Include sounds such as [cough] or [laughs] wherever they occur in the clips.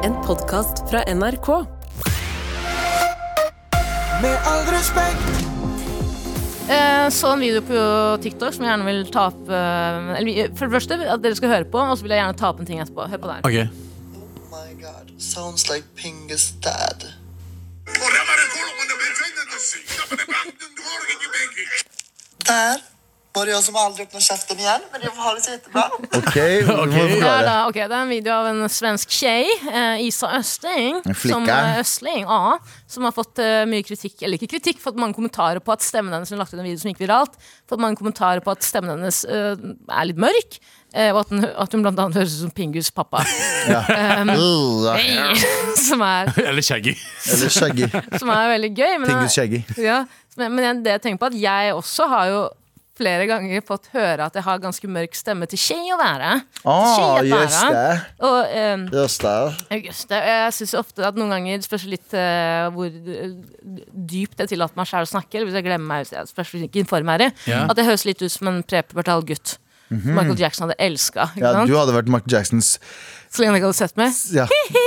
podkast fra NRK. Med all respekt, Eh, så en video på TikTok som jeg gjerne vil ta opp eh, eller, For det første at dere skal høre på, og så vil jeg gjerne ta opp en ting etterpå. Hør på der. Ok, [laughs] Oh my god, sounds like Pinga's dad. Der var det jeg som aldri åpnet kjeften igjen, men jeg har det så jättebra. Ok, vi må Det er, da, forklare. ok, det er en video av en svensk kjei, eh, Isa Østling, En flikke. som, eh, Østling ja, som har fått eh, mye kritikk, eller ikke kritikk, fått mange kommentarer på at stemmen hennes hun lagt ut en video som gikk viralt, fått mange kommentarer på at stemmen hennes eh, er litt mørk, eh, og at, den, at hun blant annet høres ut som Pingus pappa, Uh, ja. [laughs] som, er, Eller Shaggy. [laughs] Eller Shaggy. som er veldig gøy. Men Pingus Shaggy. Ja, men, men jeg- det jeg tenker på er at jeg også har jo flere ganger fått høre at jeg har ganske mørk stemme til skje å være. Ah, Skje å just være. det. Og ehm, Just det. August, jeg- jeg syns ofte at noen ganger spørs litt eh, hvor eh, dypt jeg tillater meg selv å snakke, eller hvis jeg glemmer meg, hvis jeg spørs hvilken form jeg er i, Ja. at jeg høres litt ut som en prepubertal gutt. som Michael Jackson hadde elska. Mhm. Ja, du hadde vært Mark Jacksons Så lenge han ikke hadde sett meg. [laughs] ja.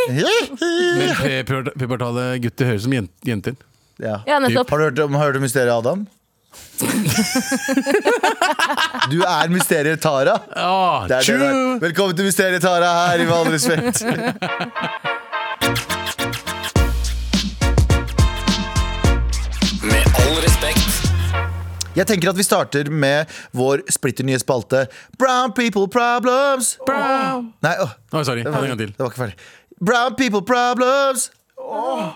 Men pre- pre- Pubertale gutter høres ut som jen- jenter. ja. Ja, nettopp. Har du hørt om, har du hørt om mysteriet [laughs] Adam? Du er mysteriet Tara. Ah, Det er det der. true! Velkommen til mysteriet Tara her, i med all respekt. med all respekt, Jeg tenker at vi starter med vår splitter nye spalte Brown People Problems. Brown. Nei, åh. Oi, sorry. Det Ta var, det en gang til. det var ikke ferdig. Brown people problems! Nei.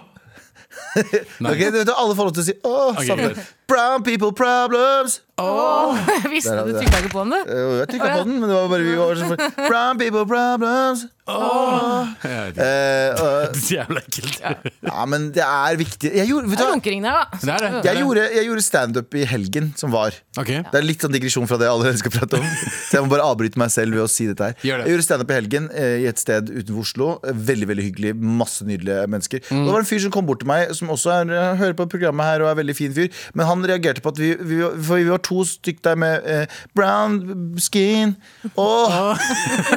Ok, du vet, Alle får lov til å si åh. Ok, sammen. greit. Brown people problems! [laughs] Jeg visste at Der har du vi det. Eh, trykka ikke på den, du. Jo, jeg trykka på den, men det var bare vi var sånn [laughs] Brown people problems! Ah. Jeg vet ikke. Eh, øh, Det er Jævla ekkelt. [laughs] ja, men det er viktig. Jeg gjorde, vet Det du er hva? runkering der, da. Det er det. det. er Jeg det. gjorde, jeg gjorde standup i helgen som var. Ok. Det er litt sånn digresjon fra det jeg allerede [laughs] skal prate om. Så jeg må bare avbryte meg selv ved å si dette her. Gjør det. Jeg gjorde standup i helgen eh, i et sted utenfor Oslo. Eh, Veldig veldig hyggelig. Masse nydelige mennesker. Mm. Og det var en fyr som kom bort til meg, som også er, eh, hører på programmet her og er veldig fin fyr. Men han reagerte på at vi, vi, var- for vi var to stykk der med eh, brown skin. Åh!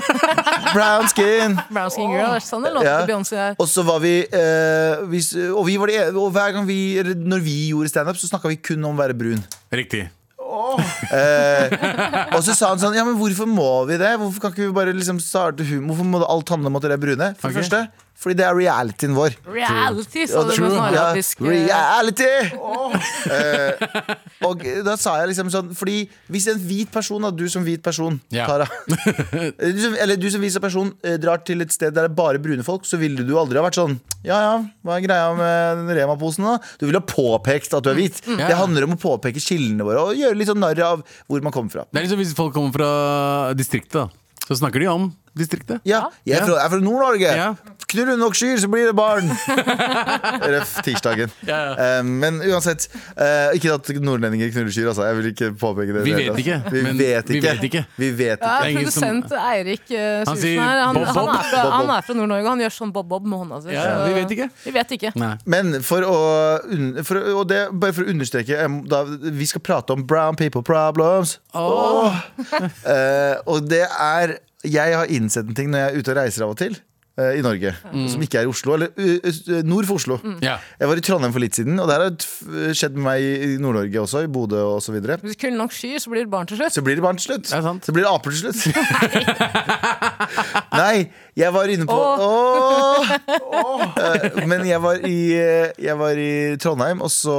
[laughs] brown skin! Brown skin girl, er det sånn det låter Ja. Beyoncé her? Og så var vi, eh, vi s- Og vi var de ene- Og hver gang vi eller Når vi gjorde standup, så snakka vi kun om å være brun. Riktig. Eh, og så sa han sånn Ja, men hvorfor må vi det? Hvorfor kan ikke vi bare liksom starte humor? Hvorfor må det alt handle om at dere er brune? For Ok. det første, fordi det er realityen vår. Reality, sa Ja, du true. med sånn Ja, arabisk eh, reality! Eh, og da sa jeg liksom sånn Fordi hvis en hvit person, da, du som hvit person, Ja. Tara [laughs] du som, Eller du som hvit person eh, drar til et sted der det er bare brune folk, så ville du aldri ha vært sånn Ja ja, hva er greia med den Rema-posen, da? Du ville ha påpekt at du er hvit. Ja. Det handler om å påpeke skillene våre og gjøre litt sånn narr av hvor man kommer fra. Det er liksom Hvis folk kommer fra distriktet, da, så snakker de om distriktet. Ja, jeg er fra, jeg er fra Nord-Norge. Ja. Knuller du nok skyer, så blir det [laughs] barn. Røff tirsdagen. Ja, Eh, men uansett. eh, ikke at nordlendinger knuller skyer, altså. Jeg vil ikke påpeke det. Vi det vet hele tatt. ikke, Vi, men vet vi ikke. vet ikke. Vi vet ikke. Ja, Det er ingen som- produsent Eirik eh, Han sier Syversen her. Han, Bob, han, Bob. er fra, Bob, Bob. han er fra Nord-Norge, han gjør sånn bob-bob med hånda si. Ja, så- vi vet ikke. Vi vet ikke. Nei. Men for å, unn- for, å- og det, bare for å understreke jeg må- da, Vi skal prate om brown people problems. Eh, og det er Jeg har innsett en ting når jeg er ute og reiser av og til. eh, I Norge, Mm. som ikke er i Oslo. Eller ø, ø, nord for Oslo. Ja. Jeg var i Trondheim for litt siden, og det her har t- skjedd med meg i- i Nord-Norge også, i Bodø osv. Så, videre. Hvis du kunne nok sky, så blir det barn til slutt. så blir det barn til slutt. Det er sant. Så blir det aper [laughs] til slutt. Nei, jeg var inne på Åh! Eh, Men jeg var, i, eh, jeg var i Trondheim, og så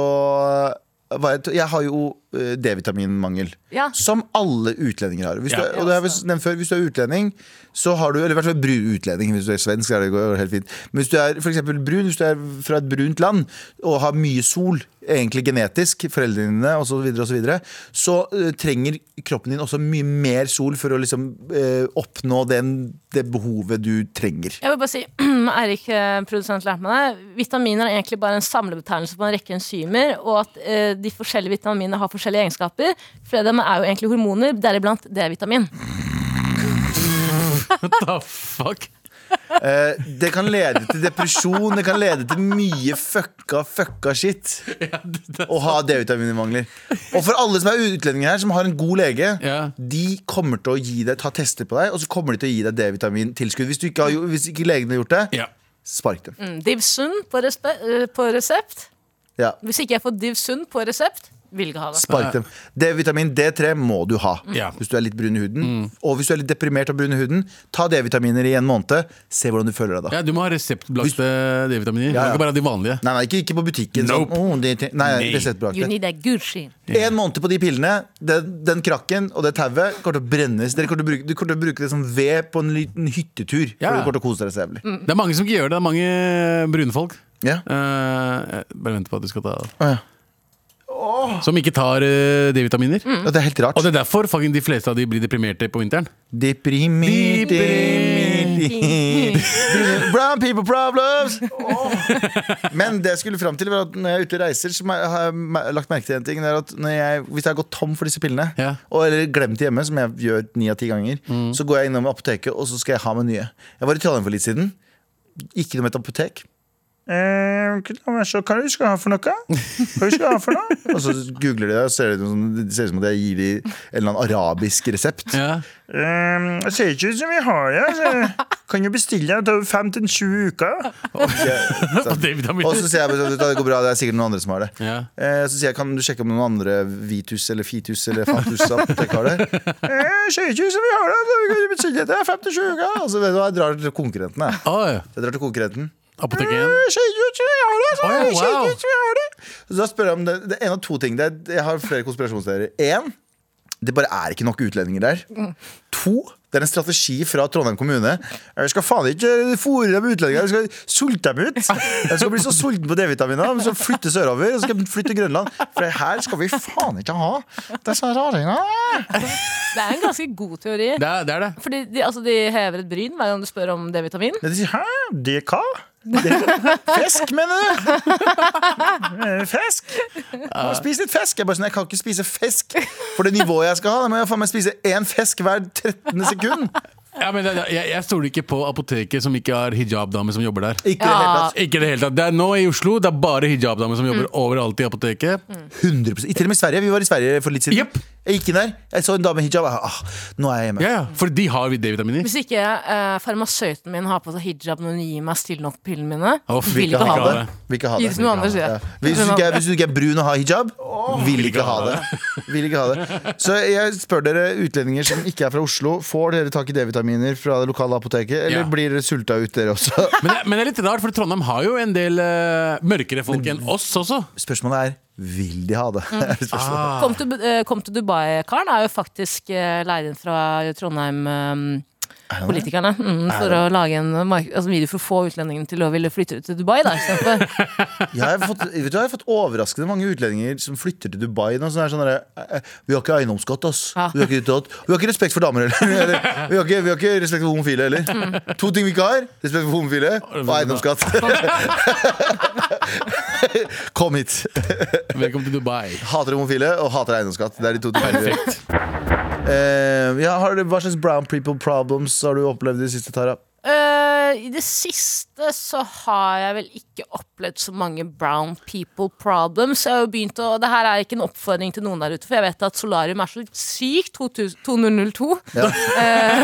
eh, var jeg, t- jeg har jo eh, D-vitaminmangel. Ja. Som alle utlendinger har. Hvis du, Ja. er- og det har jeg nevnt før, hvis du er utlending, så har du Eller i hvert fall brun utlending, hvis du er svensk. Er det går helt fint. Men hvis du er for eksempel brun, hvis du er fra et brunt land og har mye sol, egentlig genetisk, foreldrene dine osv., så, videre, og så, videre, så eh, trenger kroppen din også mye mer sol for å liksom eh, oppnå den, det behovet du trenger. Jeg vil bare si, [clears throat] Eirik, eh, produsent, lærte meg det. Vitaminer er egentlig bare en samlebetegnelse på en rekke enzymer, og at eh, de forskjellige vitaminene har forskjellige egenskaper. Flere av dem er jo egentlig hormoner, deriblant D-vitamin. What the fuck? Eh, det kan lede til depresjon, det kan lede til mye fucka, fucka [laughs] shit. Å ha D-vitaminmangler. Og for alle som er utlendinger her, som har en god lege, Ja. de kommer til å gi deg, ta tester på deg, og så kommer de til å gi deg D-vitamintilskudd. Hvis, du ikke har gjo- hvis ikke legen har gjort det, Ja. Spark dem. Mm, Divsund på, respe- eh, på resept. Ja. Hvis ikke jeg får Divsund på resept, vil jeg ikke ha det. Spark dem. D-vitamin D3 må du ha Ja. Mm. hvis du er litt brun i huden. Og hvis du er litt deprimert av brun i huden, ta D-vitaminer i en måned. Se hvordan du føler deg da. Ja, du må ha reseptbelagte D-vitaminer. Du Ja, kan ja. Ikke bare ha de vanlige. Nei, nei, ikke, ikke på butikken. Nope. Sånn, «Åh, det, nei, Nei. You reseptbelagte. need a Gucci. En måned på de pillene, den, den krakken og det tauet kommer til å brennes. Dere kommer til å bruke, du kommer til å bruke det som ved på en liten hyttetur. Ja. For du kommer til å kose dere så jævlig. Det er mange som ikke gjør det. Det er mange brune folk. Ja. Eh, jeg bare vent på at du skal ta Å, ja. Som ikke tar eh, D-vitaminer. Ja, det er helt rart. Og det er derfor fucking, de fleste av de blir deprimerte på vinteren. Deprimert [laughs] Brown people problems! Men det jeg skulle fram til, var at når jeg er ute og reiser, så har jeg me- lagt merke til en ting. Det er at når jeg, hvis jeg har gått tom for disse pillene, Ja. Mm. og, eller glemt det hjemme, som jeg gjør ni av ti ganger, så går jeg innom apoteket, og så skal jeg ha med nye. Jeg var i Trondheim for litt siden. Ikke noe med et apotek. Ehm, Eh, så hva du skal ha for noe? Hva du skal ha for [laughs] noe? Og så googler de det, og ser det ut som- det ser ut som at jeg gir dem en eller annen arabisk resept. Ja. Ehm, Det ser ikke ut som vi har det. Altså. Kan jo bestille det over fem til sju uker. [laughs] Og D-vitaminer. Og så sier jeg sånn, at det går bra, det er sikkert noen andre som har det. Ja. Eh, Så sier jeg, kan du sjekke om noen andre Vitus eller Fitus eller Fantus apotek har det? Eh, ser ikke ut som vi har det, men vi kan jo bestille det, 57 uker. Altså, vet du hva, jeg drar til konkurrenten, jeg. Oi, Jeg drar til konkurrenten. apoteket igjen. Eh, ser ikke ut som vi har det, så Oi, ser ikke wow. ut som vi har det. Så da spør jeg om det, det er en av to ting. Det er, jeg har flere konspirasjonsteorier. En, det bare er ikke nok utlendinger der. To, det er en strategi fra Trondheim kommune. Jeg skal faen ikke eh, fôre dem med utlendinger, jeg skal sulte dem ut. Jeg skal bli så sulten på D-vitaminer, men så flytte sørover, og så skal jeg flytte til Grønland. For det her skal vi faen ikke ha. Disse raringene. Det er en ganske god teori. Det er det. Er det. Fordi de, altså, de hever et bryn hver gang du spør om D-vitamin. De sier, hæ? Det hva? [laughs] Fisk, mener du? Eh, Fisk? Spis litt fisk. Jeg bare sånn, jeg kan ikke spise fisk for det nivået jeg skal ha. Da må jeg faen meg spise én fisk hver 13. sekund. Ja, men det, det- jeg, jeg stoler ikke på apoteket som ikke har hijabdame som jobber der. Ikke i det hele tatt. Ikke i det hele tatt. Det er nå i Oslo, det er bare hijabdame som Mm. jobber overalt i apoteket. 100%. Til og med i Sverige. Vi var i Sverige for litt siden. Jepp. Jeg gikk inn der, jeg så en dame i hijab. jeg, Ah, nå er jeg hjemme. Ja, ja, For de har vi D-vitaminer. Hvis ikke eh, farmasøyten min har på seg hijab når hun gir meg stille nok pillene mine, Å, fy, vil Vil jeg ikke ikke ha ha det. den. Vil ikke ha Gi det. det til noen andre, sier Ja. jeg. Hvis, du ikke er, hvis du ikke er brun og har hijab, vil ikke ha det. Vil ikke ha det. Så jeg spør dere utlendinger som ikke er fra Oslo, får dere tak i D-vitaminer fra det lokale apoteket, eller Ja. blir dere sulta ut, dere også? Men det, men det er litt rart, for Trondheim har jo en del eh, mørkere folk enn oss også. Spørsmålet er vil de ha det? Er [laughs] spørsmålet. Kom til, eh, kom til Dubai-karen er jo faktisk eh, leid inn fra Trondheim-politikerne mm, for å lage en mark altså, video for å få utlendingene til å ville flytte ut til Dubai. Da, i stedet for. Jeg har, fått, vet du, jeg har fått overraskende mange utlendinger som flytter til Dubai. Nå, som er sånn der, eh, eh, vi har ikke eiendomsskatt, ass. Ja. Vi, har ikke ditt og datt. vi har ikke respekt for damer heller. [laughs] Eller, vi, har ikke, vi har ikke respekt for homofile heller. Mm. To ting vi ikke har. Respekt for homofile og eiendomsskatt. [laughs] Kom hit. Velkommen til Dubai. Hater homofile og hater eiendomsskatt. Det er de to tingene vi gjør. Eh, ja, har du, hva slags brown people problems har du opplevd i det siste, Tara? Eh, I det siste så har jeg vel ikke opplevd så mange brown people problems. Jeg har jo begynt å, og det her er ikke en oppfordring til noen der ute, for jeg vet at solarium er så sykt 2000 2002. Ja. er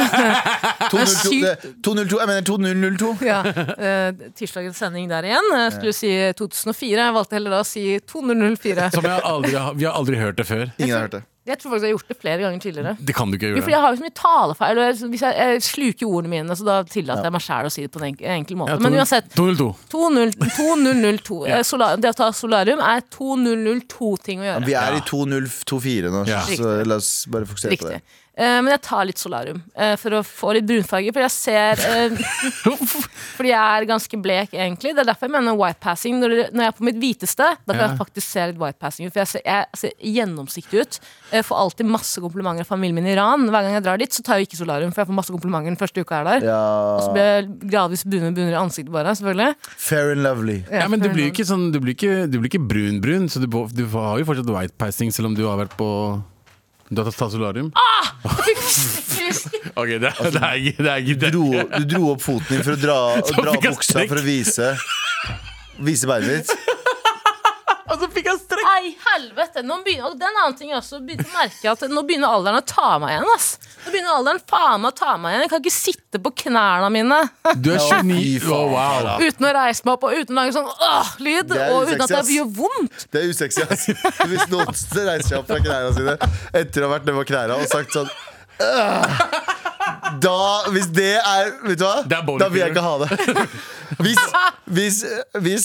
202, sykt- det- 202, jeg mener 2002. [laughs] Ja, eh, Tirsdagens sending der igjen. Jeg skulle si 2004. Jeg valgte heller da å si 2004. Som jeg aldri, har- vi har aldri hørt det før. Ingen har hørt det. Jeg tror faktisk jeg har gjort det flere ganger tidligere. Det kan du ikke Jo, gjøre. fordi jeg har jo så mye talefeil. og jeg- Hvis jeg, jeg sluker ordene mine, så da tillater jeg meg sjæl å si det på en enk- enkel måte. Ja, Men uansett, 202. 20 [laughs] 2002. Ja. Eh, sola- Det å ta solarium er 2002-ting å gjøre. Vi er i 2024 nå, Ja. så la oss bare fokusere på Riktig. det. Eh, men jeg tar litt solarium eh, for å få litt brunfarge. For jeg ser [laughs] eh, Fordi jeg er ganske blek, egentlig. Det er derfor jeg mener white passing. Når, det- når jeg er på mitt hviteste, da kan Ja. jeg faktisk se litt white passing ut. For jeg ser, jeg ser gjennomsiktig ut. Jeg får alltid masse komplimenter av familien min i Iran. Hver gang jeg drar dit, så tar jeg ikke solarium, for jeg får masse komplimenter den første uka jeg er der. Og så Ja, blir jeg gradvis brunere og brunere i ansiktet, bare. [laughs] Selvfølgelig. fair and lovely. Ja, men du blir jo ikke sånn, du blir ikke, du blir ikke brun-brun, så du, bo- du har jo fortsatt white passing selv om du har vært på Du har tatt tatt solarium? Ok, det, er- det er ikke det er ikke- det. Dro, du dro opp foten din for å [laughs] dra, å dra fikk opp han buksa strekk. for å vise Vise beinet ditt. Og så fikk jeg strekk! Nei, helvete! Nå begynner, og det er en annen ting jeg også begynte å merke at Nå begynner alderen å ta meg igjen. ass Nå begynner alderen faen meg å ta meg igjen Jeg kan ikke sitte på knærne mine Du er 29 faen, Å, wow. uten å reise meg opp og uten å lage sånn åh, lyd. Det er Og uten at usexy, ass. det gjør vondt. Det er usexy, ass. Hvis noen reiser seg opp fra knærne sine etter å ha vært nede på knærne og sagt sånn «Åh!» Da, hvis det er Vet du hva? Det er bowling da vil jeg ikke ha det. [laughs] Hvis, hvis, hvis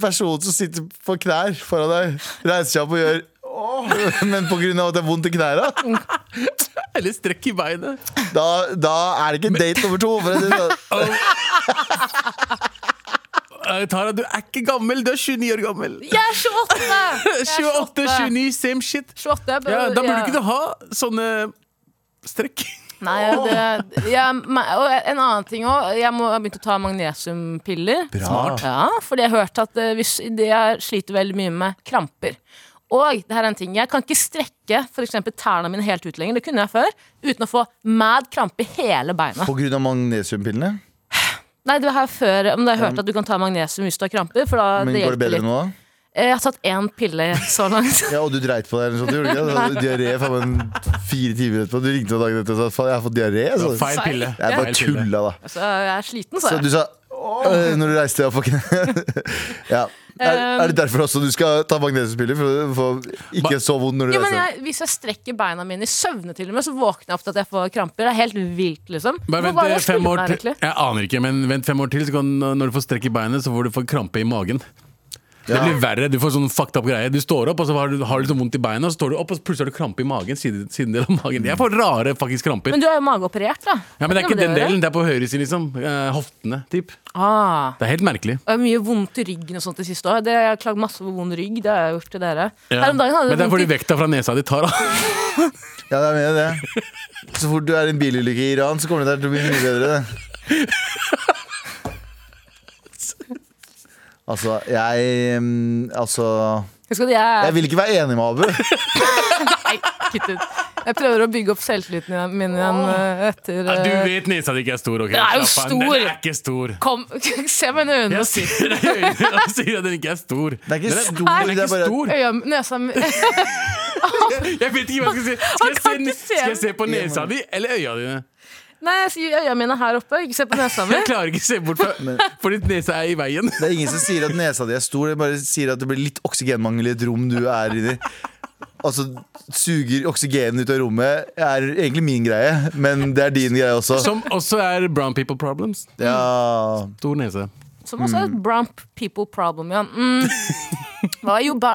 personen som sitter på knær foran deg, reiser seg opp og gjør «Åh!» men på grunn av at det er vondt i knærne, Eller strekk i beinet. da, da er det ikke date nummer to. For å si det sånn. Eh, Tara, du er ikke gammel. Du er 29 år gammel. Jeg er 28! Jeg er [laughs] 28, 29, same shit. 28, jeg bør- Ja, da burde ja. ikke du ha sånne strekk. Nei, det, jeg, me- og en annen ting òg. Jeg må- jeg har begynt å ta magnesiumpiller. Smart. Ja, fordi jeg har hørt at eh, hvis, det jeg sliter veldig mye med kramper. Og det her er en ting, jeg kan ikke strekke for eksempel tærne mine helt ut lenger. Det kunne jeg før. Uten å få mad krampe i hele beina. På grunn av magnesiumpillene? Nei, det var her før, men da har jeg hørt at du kan ta magnesium hvis du har kramper. For da det Men går det hjelper bedre litt. nå? da? Eh, Jeg har tatt én pille så [laughs] langt. Ja, og du dreit på deg eller noe sånt? gjorde Du ikke? det? Du hadde diaré faen meg fire timer etterpå. Du ringte dagen etter og sa faen, jeg har fått diaré. Så. Feil pille. Jeg bare Feil pille. tulla, [laughs] da. Så jeg er sliten, sa Så jeg. du sa «Åh», når du reiste deg opp på kne. [laughs] ja. er, er det derfor også du skal ta magnesiumpiller? For, for ikke så vondt når du Ja, men reiser deg? jeg, hvis jeg strekker beina mine i søvne, til og med, så våkner jeg opp til at jeg får kramper. Det er helt vilt, liksom. Bare Hvor vent var det eh, jeg fem skulle år med, til. egentlig? Jeg aner ikke, men vent fem år til, så kan, når du får strekk i beinet, så får du få krampe i magen. Det blir verre. Du får sånn fucked up greie. Du står opp, og så har du, har du sånn vondt i beina, og så står du opp, og så plutselig har du krampe i magen. Siden, siden del av magen. Jeg får rare faktisk kramper. Men du er jo mageoperert, da. Ja, men det er Hva ikke den gjøre? delen. Det er på høyresiden, liksom. Eh, Hoftene, typ. Ah. Det er helt merkelig. Og jeg har mye vondt i ryggen og sånt det siste året. Det- Jeg har klagd masse over vond rygg. Det har jeg gjort til dere. Her om dagen hadde Men det jeg er fordi vondt i vekta fra nesa di tar av. Ja, det er med det. Så fort du er i en bilulykke i Iran, så kommer det der til å bli mye bedre. [laughs] Det. Altså, jeg mm, Altså Husker du, jeg, Jeg vil ikke være enig med Abu. Nei, kutt ut. Jeg prøver å bygge opp selvtilliten min igjen eh, etter Ja, du [laughs] eh, vet nesa di ikke er stor. ok? Den er jo Slapp av, stor. Den er ikke stor. Kom, [laughs] se meg i øynene. Jeg ser deg i [laughs] øynene og sier at den ikke er stor. Det er ikke Den stor, den det er er bare- ikke stor. Øya, nesa mi [laughs] Jeg vet ikke hva jeg skal si. Skal jeg kan ikke se, se skal jeg den. se på nesa di eller øya dine? Nei, jeg sier øya mine er her oppe. Ikke se på nesa mi. Jeg klarer ikke å se bort fra fordi nesa er i veien. Det er ingen som sier at nesa di er stor, det bare sier at det blir litt oksygenmangel i et rom du er inni. Altså, suger oksygen ut av rommet er egentlig min greie, men det er din greie også. [laughs] Som også er brown people problems. Ja, Stor nese. Som også Mm. er et brown people problem igjen. [laughs] Mm. Hva er jo ba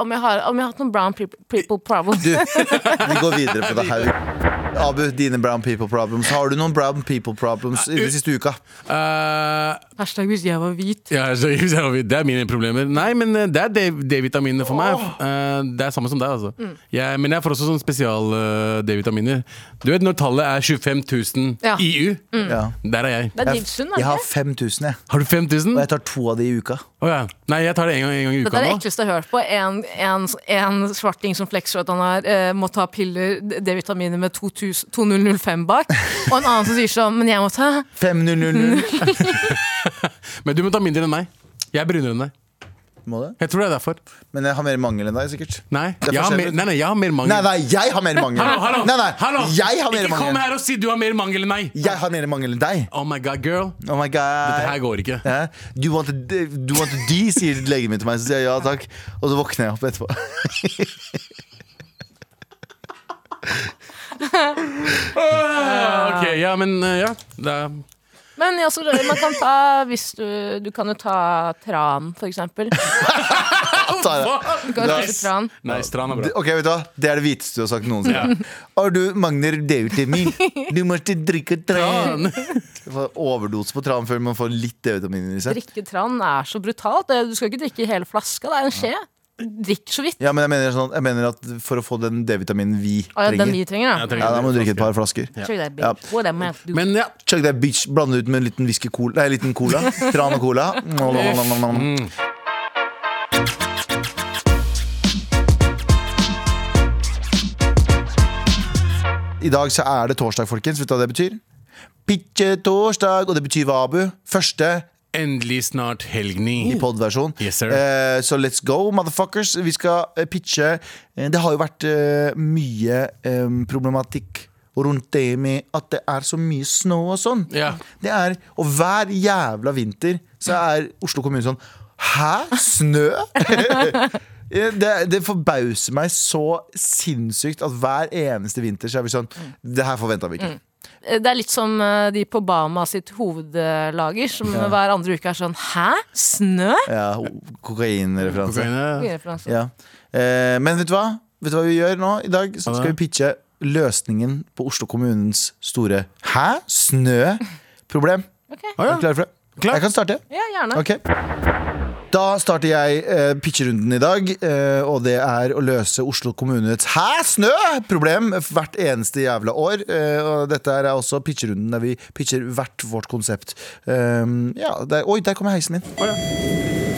om, jeg har, om jeg har hatt noen brown peop- people problem? du, vi går videre på det her. Abu, dine brown people problems. Har du noen brown people problems i den siste uka? Eh, [laughs] Hashtag hvis jeg var hvit. ja, så, [laughs] så, det er mine problemer. Nei, men eh, det er D- D-vitaminene for meg. Eh, det er samme som deg, altså. Jeg, men jeg får også sånn spesial eh, D-vitaminer. Du vet når tallet er 25 000 Ja. IU? Ja. Der er jeg. Det er Jeg, Dilsund, jeg er det har ikke? 5000, jeg. Har du 5000? Og jeg tar to av de i uka. Å ja. Nei, jeg tar det en gang, en gang i Dette uka er det nå. ekleste jeg har hørt på. En, en, en svarting som flekser at han er, eh, må ta piller, D-vitaminer med 2000, 2005 [laughs] bak. Og en annen som sier sånn Men jeg må ta 5000 Men du må ta mindre enn meg. Jeg er brunere enn deg. Må det? Jeg tror det er derfor. Men jeg har mer mangel enn deg, sikkert. Nei, Det er jeg har mer, forskjellig. nei, nei, jeg har mer mangel. Nei, nei, jeg har mer mangel! Hallo, hallo, Nei, nei, hallo. jeg har mer Ikke kom mangel. her og si du har mer mangel enn meg! Jeg har mer mangel enn deg. Oh my god, girl. Oh my god Det her går ikke. Hæ? Do you want a, d- do you want a D, sier legen min til meg. Så sier jeg ja takk, og så våkner jeg opp [laughs] etterpå. [laughs] Ok, ja, men eh, ja. Det er, Men ja, så man kan ta hvis du Du kan jo ta tran, for eksempel. Du Tara. kan jo spise Nice. tran. nei, strand er D- bra. Ok, vet du hva? Det er det hviteste du har sagt noensinne. Ja. Har du Magner [laughs] D-vitamin? Du må ikke drikke tran. Faen. Man får Overdose på tran før man får litt D-vitamin i seg. Drikke tran er så brutalt. Det- Du skal ikke drikke hele flaska, det er en skje. Drikk så vidt. Ja, men jeg mener, sånn, jeg mener at for å få den D-vitaminen vi Å, ja, den vi trenger, trenger, Jeg da. trenger ja, da må du drikke et flaske. par flasker. Check that, bitch. Ja. What am I doing? Men ja, Chug that bitch, blande ut med en liten whisky cola Nei, en liten cola. Tran og cola. I dag så er det torsdag, folkens. Vet du hva det betyr? Pitje torsdag, og det betyr hva, Abu? Første Endelig snart helgni. i podversjon. Mm. Yes, sir. Eh, så let's go, motherfuckers. Vi skal eh, pitche eh, Det har jo vært eh, mye eh, problematikk rundt det med at det er så mye snø og sånn. Ja. Det er, og hver jævla vinter så er Oslo kommune sånn Hæ? Snø? [laughs] Eh, Det, det forbauser meg så sinnssykt at hver eneste vinter så er vi sånn Det her forventa vi ikke. Mm. Eh, Det er litt som eh, de på Bama sitt hovedlager, som hver andre uke er sånn Hæ? Snø? Ja, Kokainreferanse. Kokaine. Referanse. Ja. Eh, men vet du hva? Vet du hva vi gjør nå i dag? Så skal vi pitche løsningen på Oslo kommunens store Hæ? Snø-problem. Ok. Er du klar for det? Klar. Jeg kan starte. Ja, gjerne. Ok Da starter jeg eh, pitcherunden i dag, eh, og det er å løse Oslo kommunes hæ, snø-problem hvert eneste jævla år. Eh, og dette er også pitcherunden der vi pitcher hvert vårt konsept. Eh, ja, der, oi, der kommer heisen min.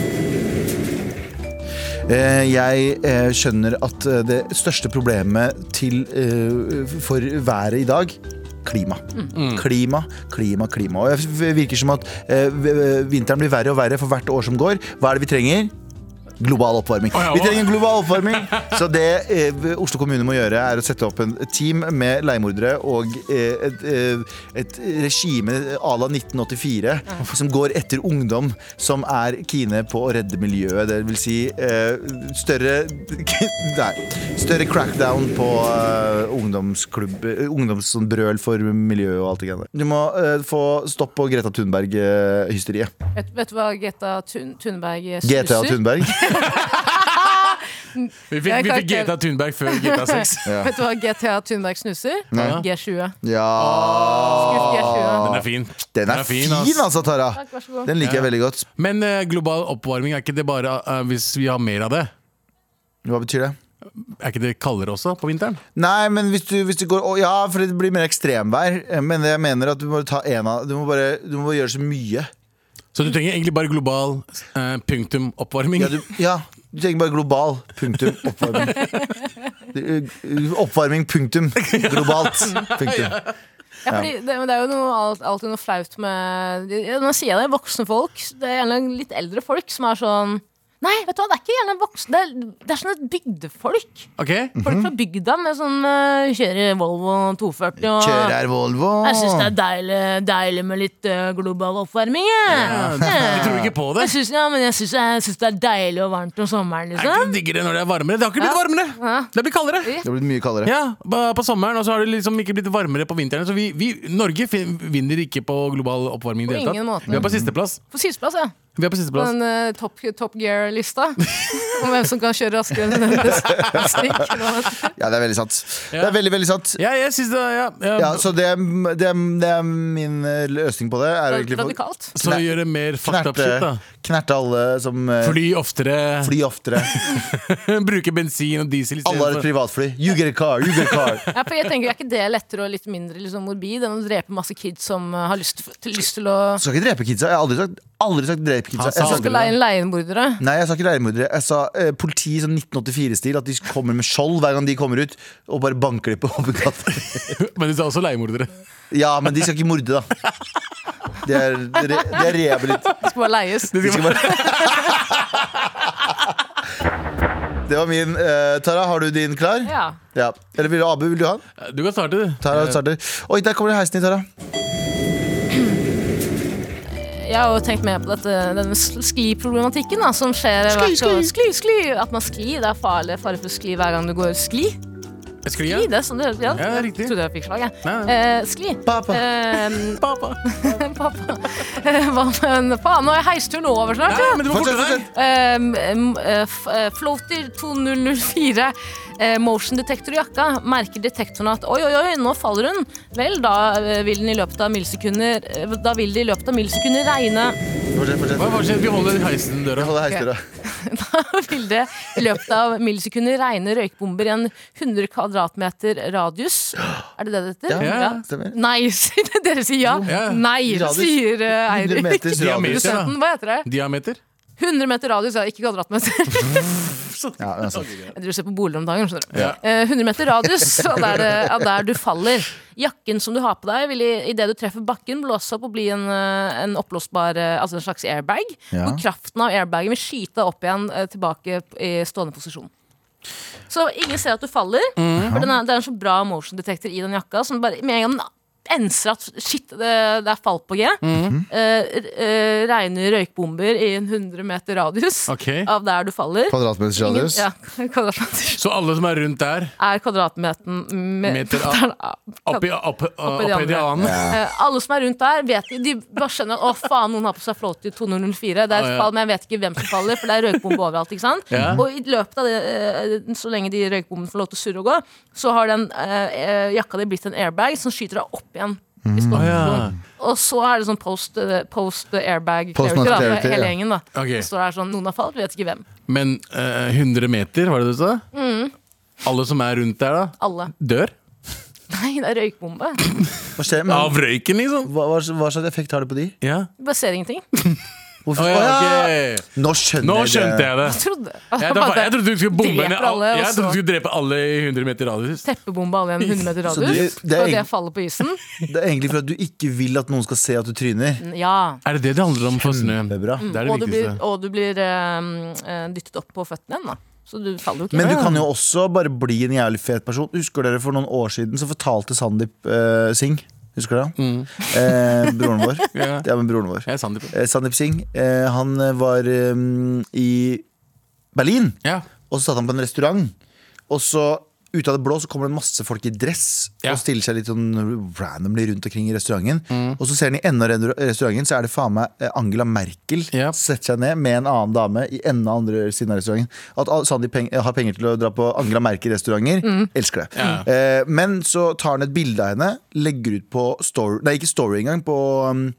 Eh, Jeg eh, skjønner at eh, det største problemet til, eh, for været i dag Klima. Klima, klima, klima. Og det virker som at eh, v- vinteren blir verre og verre for hvert år som går. Hva er det vi trenger? Global oppvarming. Å, ja, Vi hva? trenger global oppvarming! Så det eh, Oslo kommune må gjøre, er å sette opp en team med leiemordere og eh, et, eh, et regime à la 1984 som går etter ungdom som er kine på å redde miljøet. Det vil si eh, større [laughs] Nei. Større crackdown på eh, ungdomsklubb eh, Ungdomsbrøl for miljøet og alt det greiene der. Du må eh, få stopp på Greta eh, Thunberg-hysteriet. Vet, vet du hva Greta Thun Thunberg GTA stusser? Thunberg. Vi fikk, vi fikk GTA Thunberg før GTA 6. Vet du hva GTA Thunberg snuser? G20. Ja Skuff G20. Den er fin. Den er, fin, ass. altså, Tara. Takk, vær så god. Den liker jeg veldig godt. Men eh, global oppvarming, er ikke det bare eh, hvis vi har mer av det? Hva betyr det? Er ikke det kaldere også på vinteren? Nei, men hvis du, hvis du går å, Ja, for det blir mer ekstremvær. Eh, Men jeg mener at du må ta en av Du må bare, du må bare gjøre så mye. Så du trenger egentlig bare global eh, punktum oppvarming. Ja, du, ja, du trenger bare global. Punktum. [laughs] Oppvarming. Du- Oppvarming, punktum. Globalt. Punktum. Ja, fordi det, men det er jo noe, alt- alltid noe flaut med ja, Nå sier jeg det, voksne folk. Det er gjerne litt eldre folk som er sånn Nei, vet du hva, det er ikke gjerne voksne. Det er, det er sånn et bygdefolk. Ok? Folk fra bygda med sånn eh, kjører Volvo 240 og Kjører her Volvo. Jeg syns det er deilig, deilig med litt eh, global oppvarming. Jeg, [laughs] Du tror ikke på det? jeg syns ja, men jeg synes- jeg syns det er deilig og varmt om sommeren, Er ikke liksom. det diggere når det er varmere? Det har ikke blitt varmere! Det blir kaldere! Det har blitt mye kaldere. Ja, ba- På sommeren, og så har det liksom ikke blitt varmere på vinteren. Så vi, vi Norge fin- vinner ikke på global oppvarming. i det På hele ingen måte. tatt. Vi er på sisteplass. På sisteplass, ja. Vi er på På sisteplass. den eh, Top, top [laughs] Gear-lista. Om hvem som kan kjøre raskere enn den beste stikk. Ja, det er veldig sant. Det er veldig, veldig sant. Ja, jeg synes det, ja, ja. Ja, så det, er- det, er- det er min eh, løsning på det. Er egentlig å Radikalt. Så Nei. gjøre mer fucked up shit, knerte, da. knerte alle som eh, Fly oftere, Fly oftere. [laughs] bruke bensin og diesel Alle har et istedenfor. privatfly. You get a car, you get a car. [laughs] Ja, for jeg tenker, Er ikke det lettere og litt mindre liksom, morbid enn å drepe masse kids som eh, har lyst til, lyst til å Du skal ikke drepe kidsa. Jeg har aldri sagt, aldri sagt drepe kidsa. Han sa Jeg sa, aldri- skal leie inn leiemordere? nei, jeg sa ikke leiemordere. Jeg sa eh, politi sånn 1984-stil. At de kommer med skjold hver gang de kommer ut, og bare banker de på [laughs] åpen gate. [laughs] Men du sa også leiemordere. Ja, men de skal ikke morde, da. Det er, det er, det er [laughs] rehabilit. Skal bare leies? De skal bare [laughs] Det var min. eh, Tara, har du din klar? Ja. Ja. Eller vil du, Abu, vil du ha den? Du kan starte, du. Tara starter. Oi, der kommer det heisen din, Tara. Jeg har jo tenkt mer på dette, denne s- skliproblematikken da, som skjer hvert år. Skli, skli. At man sklir. Det er farlig, farlig for skli hver gang du går skli. Skli, Skli, ja. det er sånn det ja, Ja, det er riktig. Jeg trodde jeg fikk slag, jeg. Nei, nei. Eh, skli. Papa. [laughs] Eh, Pappa. pappa. Eh, Hva men faen, nå er heisturen over snart, Nei, ja. men du må forte Fortsett, deg. fortsett. Ehm, em, eh, f- eh, Floater 2004 eh, Motion detector i jakka Merker detektoren at Oi, oi, oi, nå faller hun Vel, da eh, vil den i løpet av millisekunder eh, Da vil det i løpet av millisekunder regne Fortsett, fortsett. Hva hva skjer? Vi holder heisen døra. Hold heisdøra. [laughs] Da vil det i løpet av millisekunder regne røykbomber I en 100 kvadratmeter radius Er det det det heter? Ja. Stemmer. Nei, [laughs] sier det- dere sier ja Ja. Nei, Radius. sier eh, 100 Eirik meters radius. Diameter, da. Hva heter det? Diameter? [laughs] 100 meter radius, ja, ikke kvadratmeter sånn. Ja, det er sant. Jeg driver og ser på boliger om dagen. skjønner du. Ja. Eh, 100 meter radius av der, eh, av der du faller. Jakken som du har på deg, vil i- idet du treffer bakken, blåse opp og bli en, eh, en oppblåsbar eh, Altså en slags airbag. Ja. Hvor kraften av airbagen vil skyte deg opp igjen eh, tilbake p- i stående posisjon. Så ingen ser at du faller. Mhm. For den er, det er en så bra motion detector i den jakka som bare med en gang den enser at shit, det, det er fall på G. Mhm. eh, r- eh, regner røykbomber i en 100 meter radius Ok. av der du faller. Kvadratmeters Ingen- radius. Ja, [laughs] kvadratmeter. Så alle som er rundt der, Er kvadratmeteren me- Meter av- meteren av- oppi opp, i de opp, de andre. andre Eh, Alle som er rundt der, vet, de bare skjønner at å faen, noen har på seg flåte i 2004. Det er Ah, et ja. fall, men jeg vet ikke hvem som faller, for det er røykbombe overalt. ikke sant? Ja. Og i løpet av det, eh, så lenge de røykbombene får lov til å surre og gå, så har den eh, eh, jakka di blitt en airbag som skyter deg opp igjen. Mm. i Å, Ah, ja. skålen. Og så er det sånn post, eh, post airbag Post clarity, da, for clarity, hele ja. gjengen. da Ok. Det står der sånn, Noen har falt, vi vet ikke hvem. Men eh, 100 meter, var det du sa? Mm. Alle som er rundt der, da, Alle. dør? Nei, det er røykbombe. Hva, skjer, men, Av røyken, liksom? hva, hva, hva slags effekt har det på de? Ja. Du bare ser ingenting. Hvorfor? Å, ja, ok. Nå skjønner Nå skjønte jeg det. Trodde. Jeg, da, jeg trodde du skulle bombe Dreper ned alle, alle, og jeg trodde du så- skulle drepe alle i 100 meter radius. teppebombe alle i en 100 meter Så det- radius. det er og det egentlig- faller på isen. [laughs] Det er egentlig for at du ikke vil at noen skal se at du tryner. Ja. Er det det det handler om for snø? Det er bra. Det er det Og du blir, viktigste. og du blir eh, eh, dyttet opp på føttene igjen, da. Så du faller jo ikke. Men du kan jo også bare bli en jævlig fet person. Husker dere for noen år siden så fortalte Sandeep eh, Singh Husker du det? Eh, broren vår. Mm. [laughs] Ja. Det er med broren vår. Jeg er Sandeep. Eh, Sandeep Singh. Eh, han eh, var eh, i Berlin, Ja. og så satt han på en restaurant. Og så ut av det blå så kommer det en masse folk i dress Ja. og stiller seg litt sånn randomly rundt omkring i restauranten. Mm. Og så ser han i enden av re- restauranten, så er det faen meg eh, Angela Merkel Ja. setter seg ned med en annen dame i enden av andre siden av restauranten. At al- Sandeep peng har penger til å dra på Angela Merkel-restauranter, elsker det. Ja. Eh, men så tar han et bilde av henne, legger ut på story Nei, ikke story engang, på, um,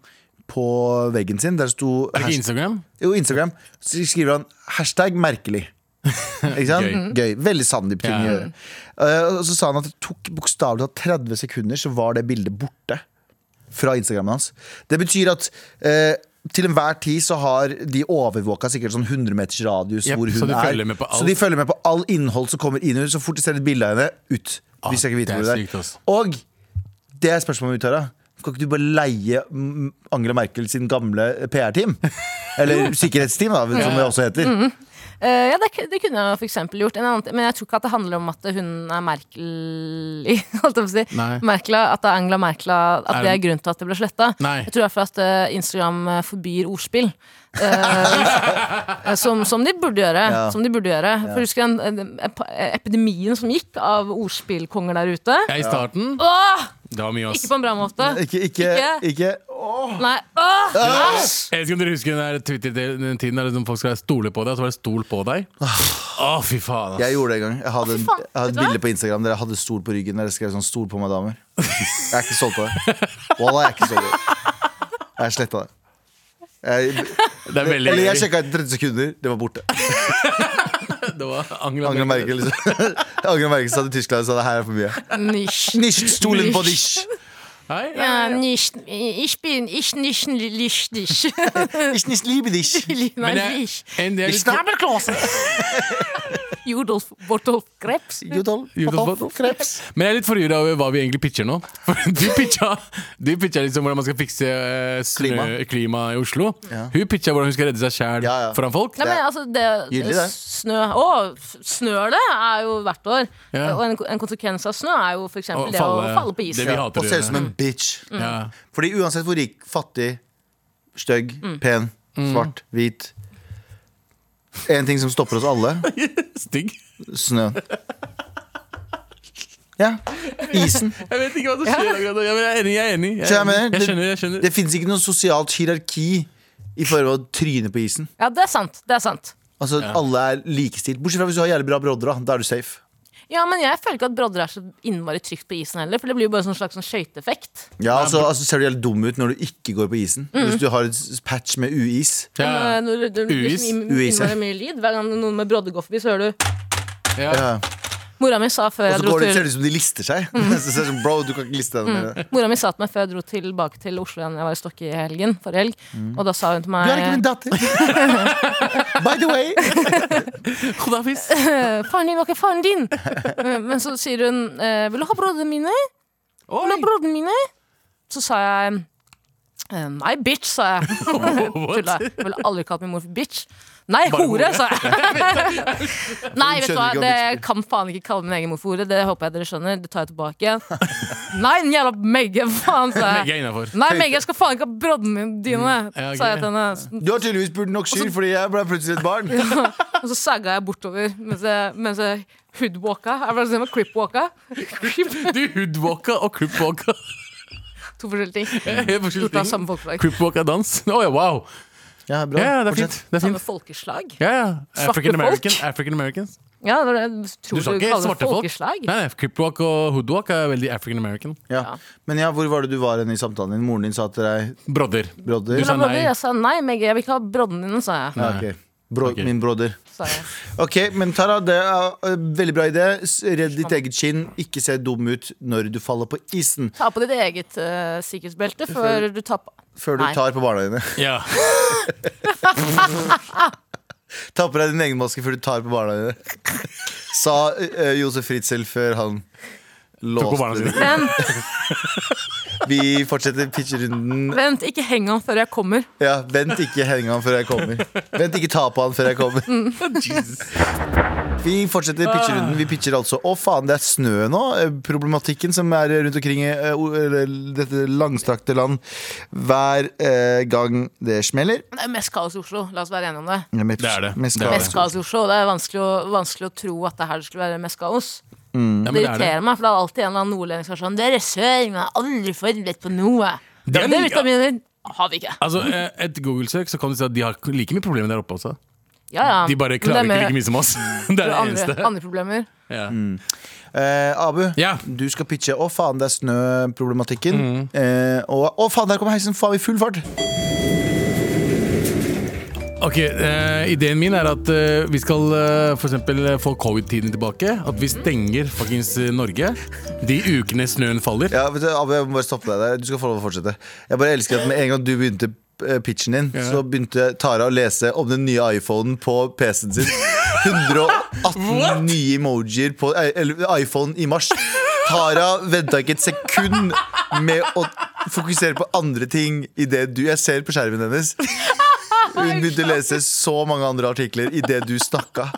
på veggen sin. Der sto Er det ikke Instagram? jo, Instagram. Så skriver han hashtag merkelig. Ikke sant? Gøy. Veldig Sandeep ting Ja. å gjøre. Eh, og så sa han at det tok bokstavelig talt 30 sekunder, så var det bildet borte fra Instagrammen hans. Det betyr at eh, til enhver tid så har de overvåka sikkert sånn 100 meters radius Jep, hvor hun så de følger med er. på alt. Så de følger med på all innhold som kommer inn. og Så fort de ser et bilde av henne, ut. Vi skal ikke vite det er hvor det sykt, ass. er. Og det er spørsmålet mitt, Tara. Kan ikke du bare leie mm, Angela Merkel sin gamle PR-team? Eller sikkerhetsteam, da, som det også heter. Eh, ja, det, k- det kunne jeg for eksempel gjort. En annen, men jeg tror ikke at det handler om at hun er Merkel i [laughs] holdt jeg på å si. Nei. Merkel, at det er Angela Merkel, at Er det er hun- grunnen til at det ble sletta. Nei. Jeg tror i hvert fall at eh, Instagram eh, forbyr ordspill. Eh, [laughs] som, som de burde gjøre. Ja. Som de burde gjøre. For husker du den eh, ep- epidemien som gikk av ordspillkonger der ute? Jeg er i starten. Åh! Det var mye, ass. Ikke på en bra måte. Ikke, ikke, Ikke? ikke. Nei. Åh! Jeg vet ikke om dere husker den der Twitter-tiden der liksom folk skal stole på deg, og så var det stol på deg. Å, fy faen, ass. Jeg gjorde det en gang. Jeg hadde, en, faen, jeg hadde vet et du hva? bilde på Instagram der jeg hadde stol på ryggen. Der jeg skrev sånn 'stol på meg, damer'. Jeg er ikke stolt av det. Wallah, jeg er ikke stolt av det. Jeg sletta det. Jeg, Det er veldig eller jeg sjekka etter 30 sekunder. Det var borte. [laughs] Det var Angela, Angela Merkel liksom. [laughs] Angela Merkel sa til Tyskland sa det her er for mye. Nicht. Nicht stolen på dich. Hei, hei, Ja, hei. nicht. Ich bin ich nicht [laughs] lichtig. [laughs] Ich nicht liebe [laughs] dich. Nei, Men jeg, nicht. en del, Ich snabelklose. Judolf Bortolf Krebs. Jodol. Jodel, Jodol. Krebs. Men jeg er litt forvirra over hva vi egentlig pitcher nå. [laughs] For de pitcha, de pitcha liksom hvordan man skal fikse eh, snø, Klima. klima. i Oslo. Hun pitcha hvordan hun skal redde seg sjæl Ja, ja. foran folk. Nei, men Det er altså, det, gyldig, det. snø Å, f- snør det er jo hvert år. Ja. Og en, en konsekvens av snø er jo for eksempel Å det å falle- falle på is. det vi Ja, hater å og ser gjøre. ut som en bitch. Ja. Fordi uansett hvor rik, fattig, stygg, Mm. pen, svart, hvit En ting som stopper oss alle [laughs] Stygg. snøen. Ja. Isen. Jeg vet ikke hva som skjer akkurat nå. Ja, men Jeg er enig. Jeg er enig Jeg, Så jeg er mener, enig. jeg det- skjønner. jeg skjønner Det fins ikke noe sosialt hierarki i forhold til å tryne på isen. Ja, det er sant. Det er sant. Altså, Alle er likestilt. Bortsett fra hvis du har jævlig bra brodder. Da Da er du safe. Ja, men jeg føler ikke at brodder er så innmari trygt på isen heller, for det blir jo bare sånn slags sånn skøyteeffekt. Ja, altså, altså Ser du jævlig dum ut når du ikke går på isen? Mm. Hvis du har et s- patch med uis. Ja, Men, eh, Når det blir Uis. liksom inn- Uis, ja. innmari mye lyd, hver gang noen med brodder går forbi, så hører du ja. Ja. Mora mi sa før Og jeg så dro går det, til ser det ut som de lister seg. [laughs] Så ser det som, Bro, du kan ikke liste deg mer. Mora mi sa til meg før jeg dro tilbake til Oslo igjen, jeg var i Stokke i helgen, forrige helg, og da sa hun til Mm. Du er ikke min meg [laughs] datter! By the way! Kodafis. «Eh, Faren din var ikke faren din! [laughs] Eh, Men så sier hun eh, Vil du ha brødrene mine? Vil du ha brødrene mine? Så sa jeg eh, Nei, bitch, sa [laughs] jeg. [laughs] Tulla. Jeg ville aldri kalt min mor for bitch. Nei, Bare hore, sa [laughs] jeg. Nei, vet du hva, Skjønner ikke hva det bitch kan faen ikke kalle min egen mor for hore. Det håper jeg dere skjønner. Det tar jeg tilbake. [laughs] Nei, den jævla Megge, faen, sa Begge jeg. er innafor. Nei, Megge, jeg skal faen ikke ha broddene dine, Mm. Ja, ok. sa jeg til henne. Du har tydeligvis pult nok skyld, fordi jeg ble plutselig et barn. Og så sagga jeg bortover mens jeg, mens jeg hoodwalka. Jeg ble sånn cripwalka. Crip, [laughs] Du hoodwalka og [laughs] croupwalka. [laughs] to forskjellige ting. Helt forskjellige Gjort av ting. samme folkeslag. Croupwalk er dans. Å ja, wow. Ja, bra. Ja, ja, det er Fortsett. fint. Det er Samme fint. folkeslag. Ja, ja. Svarte African American. folk. African Americans. Ja, det var det jeg Du tror sa du, ikke kaller det svarte folk. folkeslag. Nei, nei, Cripwalk og hoodwalk er veldig African American. Ja. Men ja, hvor var det du var hen i samtalen din? Moren din sa til deg Brodder. Brodder? Du sa- Men da ble nei. det- Jeg sa nei, Megge, jeg vil ikke ha broddene dine, sa jeg. Ja, ok. Bro, Ok. Min broder. Sa jeg. Ok, men Tara, det er eh, veldig bra idé. S- Redd ditt eget skinn. Ikke se dum ut når du faller på isen Ta på ditt eget eh, sikkerhetsbelte før du tar på før du Nei. tar på barna dine. Ja. Ta på deg din egen maske før du tar på barna dine. [laughs] Sa eh, Josef Fritzel før han Tok på barna låste sine. Vent, Vi fortsetter pitcherunden. vent, ikke heng han før jeg kommer. Ja, vent ikke henge han før jeg kommer. Vent ikke ta på han før jeg kommer. Mm. [laughs] Vi fortsetter pitcherunden. Vi pitcher altså Å, faen, det er snø nå. Eh, Problematikken som er rundt omkring i eh, o- eller dette langstrakte land hver eh, gang det smeller. Det er mest kaos i Oslo, la oss være enige om det. Mest- Det er det. mest Det er kaos. Mest kaos i Oslo, og Det er vanskelig å, vanskelig å tro at det her skulle være mest kaos. Ja, Det men det er det. irriterer meg, for det er alltid en eller annen nordlending som er sånn Dere sør, men er aldri forberedt på noe. Det Det er mye- vitaminer har vi ikke. Altså, eh, Et Google-søk så kan du si at de har like mye problemer der oppe også. Ja, ja. De bare Men det er klager ikke mer- like mye som [laughs] oss. [laughs] Det er det andre, eneste. andre problemer. Ja. Eh, Abu, Ja. du skal pitche 'Å, faen, det er snø'-problematikken. Eh, og 'Å, faen, der kommer heisen', faen, i full fart. Ok, eh, Ideen min er at eh, vi skal eh, for eksempel eh, få covid-tiden tilbake. At vi stenger fuckings eh, Norge de ukene snøen faller. Ja, vet du, Abu, jeg må bare stoppe deg der. Du skal få lov å fortsette. Jeg bare elsker at med en gang du begynte eh, pitchen din, så begynte Tara å lese om den nye iPhonen på PC-en sin. 118 nye emojier på eh, eller, iPhone i mars. Tara venta ikke et sekund med å fokusere på andre ting i det du Jeg ser på skjermen hennes. Hun begynte å lese så mange andre artikler i det du stakk av.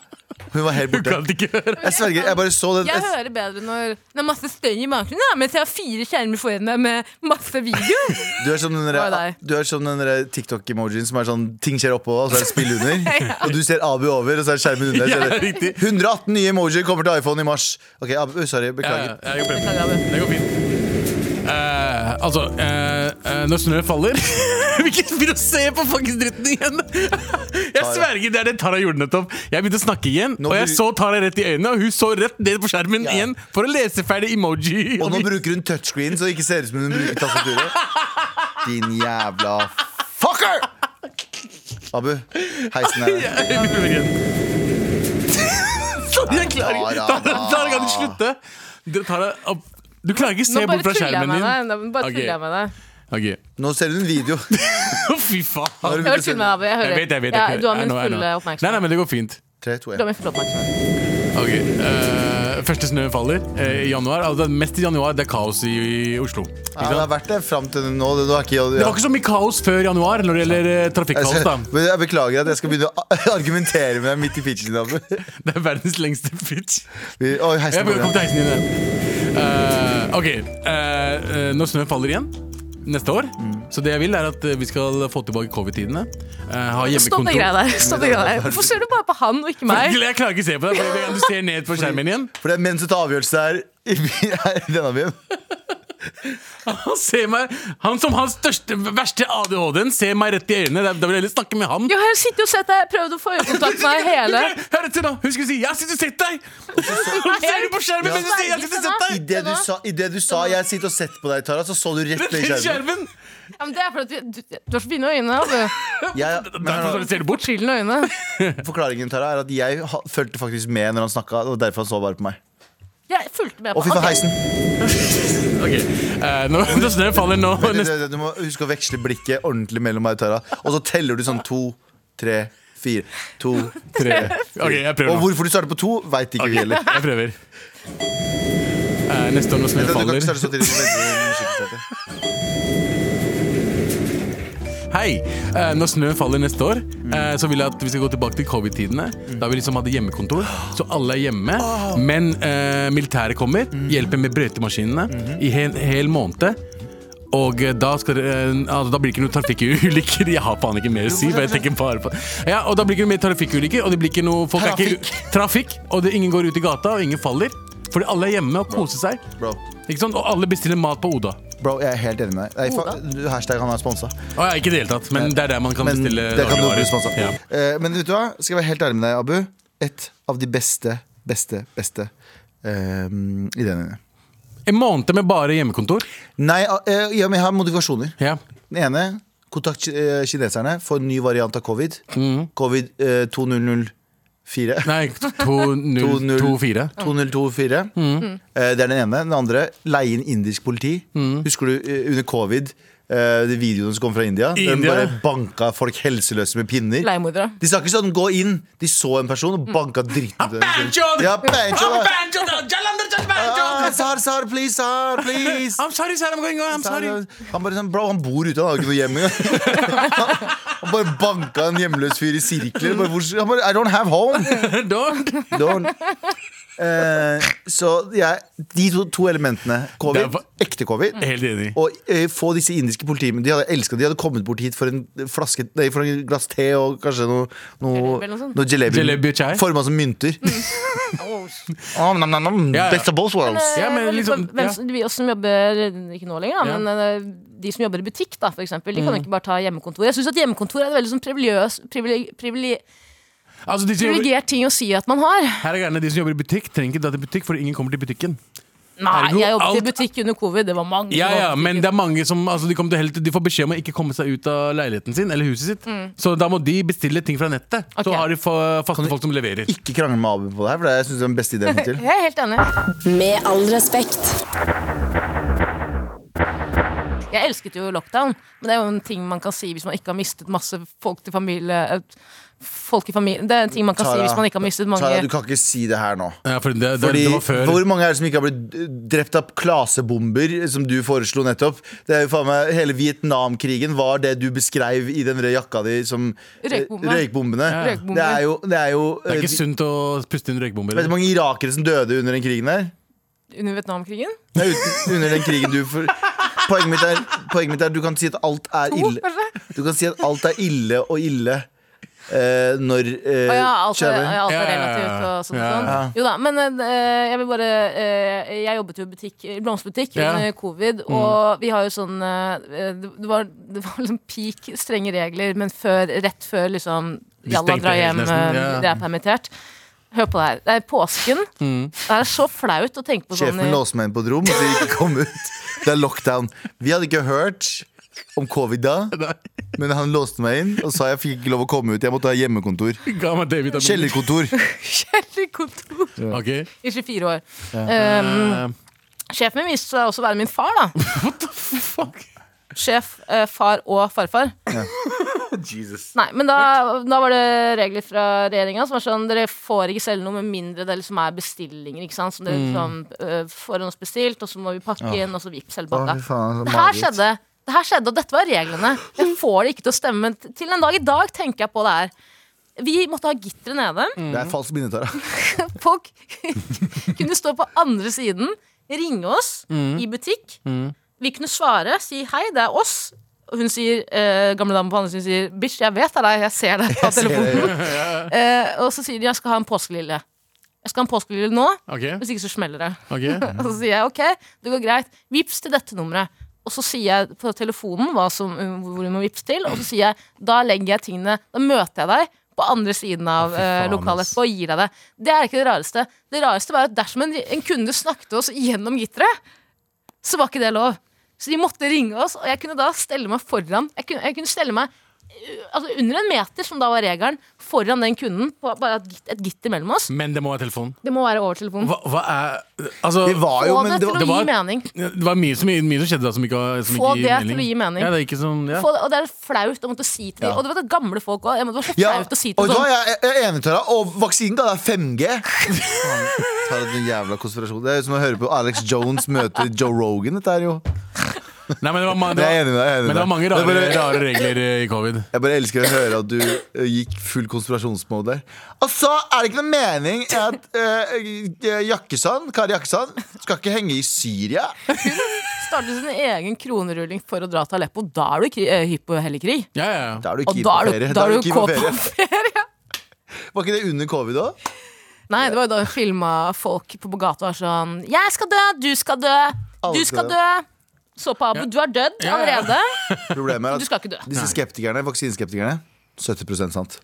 Hun var [laughs] helt Du borte. kan ikke høre Jeg sverger, jeg bare så den. Jeg hører bedre når det er masse støy i bakgrunnen, ja, mens jeg har fire skjermer foran meg med masse video. Du er som den Det var derre deg. du er som den derre TikTok-emojien som er sånn ting skjer oppå, og så er det spill [laughs] under. Og du ser Abu over, og så er skjermen under. Så er det, 118 nye emojier kommer til iPhone i mars. Ok, Abu, uh, sorry, Ja, beklager. ja, jeg går frem. Beklager, Abu. Det går fint. Eh, altså, eh, eh, når snø faller [laughs] Ikke begynn å se på fuckings dritten igjen! [laughs] jeg sverger, det er det Tara gjorde nettopp. Jeg begynte å snakke igjen, Nå og jeg blir- så Tara rett i øynene, og hun så rett ned på skjermen Ja. igjen for å lese ferdig emoji. Og nå bruker hun touchscreen, så det ikke ser ut som hun bruker [laughs] tastaturet. Din jævla fucker! Abu, [laughs] heisen er her. Jeg prøver igjen. Sånn, jeg klarer ikke Tara, Tara, Tara, kan du slutte? Du, Tara, opp. du klarer ikke å Nå [laughs] se bare bort fra tuller jeg skjermen med din. deg. Nå bare Ok. tuller jeg med deg. Ok. [laughs] Nå ser hun en video. Å, Fy faen. Jeg bare tuller med deg, Abu. Jeg Jeg hører. vet, jeg vet. Ja, jeg- du har I min know, I know. fulle Nei, nei, oppmerksomhet. men det går fint. 3, 2, Du 1. har min fulle oppmerksomhet. Ok, eh, Første snø faller eh, i januar. Altså, det er mest i januar det er kaos i, i Oslo. Ikke Ja, det har sant? vært det fram til nå. Det var ikke, Det var ikke så mye kaos før januar når det gjelder eh, jeg, trafikkaos. skal, da men jeg beklager at jeg skal begynne å [laughs] argumentere med deg midt i pitchen. Abu. Det er verdens lengste pitch. Vi, oi, heisen Jeg går bør igjen. komme til heisen din. igjen. Eh, ok, eh, eh, når snøen faller igjen neste år Så det jeg vil, er at eh, vi skal få tilbake covid-tidene. eh, ha Stopp det hjemmekontor. greia der. Stopp det [laughs] greia der. Hvorfor ser du bare på han og ikke meg? Jeg klarer ikke å se på deg, for jeg- du ser ned på skjermen igjen. For det er menn som tar avgjørelse her i [laughs] by- her i denne byen. Han ser meg Han som hans største, verste ADHD-en ser meg rett i øynene. Da da vil jeg heller snakke med han. Jo, jeg sitter jo og sett deg. Prøvde å få øyekontakt med deg hele. Hør etter, da! Hun skulle si 'jeg sitter og sett deg'! Så ser du på skjermen mens du sier 'jeg sitter og sett I deg'! det du sa, i det du sa 'jeg sitter og sett på deg', Tara, så så du [laughs] rett Rett ned i i skjermen. skjermen! Ja, men det er fordi at vi- du, du har så fine øyne. Abu. Jeg, men, Derfor så ser du bort. Chillende øyne. forklaringen Tara, er at jeg ha- fulgte faktisk med når han snakka, og derfor han så bare på meg. Jeg fulgte med Å, på fy faen, Ok. heisen! Ok, eh, nå, [laughs] nå snø faller nå Du, neste, du, du må huske å veksle blikket ordentlig mellom meg og Tara. Og så teller du sånn to, tre, fire. To, [laughs] tre. Ok, jeg Og prøver nå hvorfor du starter på to, veit ikke vi [laughs] heller. Jeg prøver Eh, Neste år når snø Du kan ikke faller starte så tidlig som venter. Hei! Eh, når snøen faller neste år, eh, så vil jeg at vi skal gå tilbake til covid-tidene. Da vi liksom hadde hjemmekontor. Så alle er hjemme. Ah. Men eh, militæret kommer, Mhm. hjelper med brøytemaskinene i en hel måned. Og eh, da, skal, det, eh, altså, da blir det ikke noen trafikkulykker. [laughs] Jeg har faen ikke mer å si. for jeg tenker bare på Ja, Og da blir det ikke mer trafikkulykker, og det blir ikke noe folk Er ikke, trafikk. Og det, ingen går ut i gata, og ingen faller. Fordi alle er hjemme og koser seg. Bro, Ikke sant? Og alle bestiller mat på Oda. bro, jeg er helt enig med deg. Nei, fa- du, Hashtag han er sponsa. Å, ja, ikke i det hele tatt, men det er der man kan Men bestille det kan du dagligvarer. bli sponsa Ja. Eh, Men vet du hva? Skal jeg være helt ærlig med deg, Abu. Et av de beste, beste, beste eh, ideene dine. En måned med bare hjemmekontor? Nei, eh, ja, men jeg har modifikasjoner. Ja. Den ene Kontakt eh, kineserne for en ny variant av covid. Covid eh, 2004. Mm. Nei, [laughs] 2024. 2024. Mm. Eh, det er den ene. Den andre leie inn indisk politi. Mm. Husker du eh, under covid, eh, de videoene som kom fra India? I Den India? bare banka folk helseløse med pinner. Leiemordere. De sa ikke sånn 'gå inn'. De så en person og banka dritten ut av den. banjoed! Ja, banjo, da. Ah, I'm Sar, Sar, please, Sar, please. sorry, sir, I'm going on. I'm sorry. Han bare sånn, bro, han bor ute, han har ikke noe hjem engang. [laughs] Han bare banka en hjemløs fyr i sirkler. Bare, hvor, han bare, I don't have home. [laughs] Don't. Don't. Eh, så jeg, de to, to elementene, Det er covid, fa- ekte covid, Helt enig. og eh, få disse indiske politimennene De hadde elsket, de hadde kommet bort hit for en flaske Nei, for en glass te og kanskje noe Noe, Jalebi eller noe sånt. noe jalebi, Jalebi og chai. Forma som mynter Oh, oh, nam, nam, nam. Ja, ja. Best of both worlds Ja, men liksom, Eh, hvem, ja. som- Vi også som jobber Ikke nå lenger, da, Ja. Mm. men eh, de som jobber i butikk, da, for eksempel, de kan jo ikke bare ta hjemmekontor. Jeg syns at hjemmekontor er en veldig sånn privilegiøs- privile- privile- Altså, de som jobber, privilegert ting å si at man har. her er greiene, de som jobber i butikk, trenger ikke dra til butikk, for ingen kommer til butikken. Nei, Ergo, jeg jobbet i alt- butikk under covid. Det var mange som Ja, jobbet ja, i Men butikk. det er mange som altså, de, kommer til helt, de får beskjed om å ikke komme seg ut av leiligheten sin eller huset sitt. Så da må de bestille ting fra nettet. Mm. Ok. Så har de fa- faste folk som leverer. Ikke krangle med Abu på det her, for det er, jeg synes det er den beste ideen til [laughs] Jeg er helt enig. Med all respekt. Jeg elsket jo lockdown, men det er jo en ting man kan si hvis man ikke har mistet masse folk til familie eh, Folk i familien Det er en ting man kan si Tara, hvis man ikke har mistet mange Tara, du kan ikke si det her nå Ja, for det, det, Fordi, det var før. Hvor mange er det som ikke har blitt drept av klasebomber, som du foreslo nettopp? Det er jo faen meg, Hele Vietnamkrigen var det du beskreiv i den røde jakka di som eh, Røykbombe. røykbombene. Ja. Røykbomber. Det er jo, det er jo Det er eh, ikke sunt å puste inn røykbomber. Vet du hvor mange irakere som døde under den krigen der? under Vietnamkrigen. Nei, uten- under den krigen du for... Poenget mitt, er, poenget mitt er du kan si at alt er ille. Du kan si at alt er ille og ille eh, når eh, Å ja, alt er, skjønner du? alt Ja, er ja, ja. relativt og sånn. og Ja, ja. sånn. Jo da, men eh, jeg vil bare eh, Jeg jobbet jo i butikk, i blomsterbutikk Ja. Mm. under covid, og vi har jo sånn eh, det, det var, det var liksom peak strenge regler, men før, rett før liksom De Jalla stengte dra helt hjem, nesten, eh, ja. dere er permittert. Hør på det her. Det er påsken. Mm. Det er så flaut å tenke på sånn Sjefen i- [laughs] låste meg inn på et rom, så jeg ikke kom ut. Det er lockdown. Vi hadde ikke hørt om covid da, men han låste meg inn og sa jeg fikk ikke lov å komme ut. Jeg måtte ha hjemmekontor. [laughs] Ga meg D-vitamin. Kjellerkontor. kjellerkontor Ok. Eh, i 24 år. Um, sjefen min viste seg også å være min far, da. Sjef, eh, far og farfar. Nei, men da, da var det regler fra regjeringa som var sånn Dere får ikke selge noe med mindre det liksom er bestillinger. ikke sant? Som dere liksom, eh, får noe spesielt, og så må vi pakke inn, og så vips hele pakka. Det her skjedde. Det her skjedde, og dette var reglene. Jeg får det ikke til å stemme. men Til en dag i dag tenker jeg på det her. Vi måtte ha gitteret nede. Det er falsk minne, Tara. Folk [laughs] kunne stå på andre siden, ringe oss i butikk. Vi kunne svare, si 'hei, det er oss'. Og hun sier, eh, gamle dame på andre siden sier 'bitch, jeg vet det er deg, jeg ser deg på telefonen'. [laughs] Eh, og så sier de 'jeg skal ha en påskelille'. Jeg skal ha en påskelille nå, Ok. hvis ikke så smeller det. ok. Og så sier jeg ok, det går greit. Vips til dette nummeret. Og så sier jeg på telefonen hva som, eh, hvor du må vips til, og så sier jeg da legger jeg tingene Da møter jeg deg på andre siden av fy eh, faen, lokalet ass. og gir deg det. Det er ikke det rareste. Det rareste var at dersom en, en kunde snakket oss gjennom gitteret, så var ikke det lov. Så de måtte ringe oss, og jeg kunne da stelle meg foran. Jeg kunne, jeg kunne stelle meg eh, altså under en meter, som da var regelen, foran den kunden. på Bare et, git- et gitter mellom oss. Men det må være telefon. Det må være over telefonen. Hva, hva er Altså Det var jo, Få det men det var, til å var- gi mening. Det var mye som, mye som skjedde da som ikke, var- som Få ikke det til å gi mening. Ja, det er ikke sånn, ja. Få det, og det er flaut å måtte si til dem. Og det var det gamle folk òg. Det var så ja, flaut å si til og vet du hva, sånn. jeg, jeg er enig til deg. Og vaksinen ga deg [laughs] 5G. Faen, tar det en jævla konspirasjon Det er som å høre på Alex Jones møte Joe Rogan. Dette er jo Nei, men det var, ma- det Jeg var, er enig med deg. jeg er men enig med det deg. var mange Det er rare, bare- rare regler eh, i covid. Jeg bare elsker å høre at du eh, gikk full konspirasjonsmode der. Og så er det ikke noe mening i at eh, Jakkesand, Kari Jakkesand skal ikke henge i Syria. Starte sin egen kronerulling for å dra til Aleppo. Da er du kri- eh, hypp på hellig krig. Ja, ja, ja. Da er du Og keen da på er du, ferie. da er du keen kåt på på ferie. ferie. Var ikke det under covid òg? [laughs] Nei, det var jo da vi filma folk på gata og var sånn Jeg skal dø, du skal dø, du Alle skal skal dø. Så på Abu, du er dødd Ja, ja. allerede. Problemet Du er skal at ikke dø. disse skeptikerne, vaksineskeptikerne 70 sant.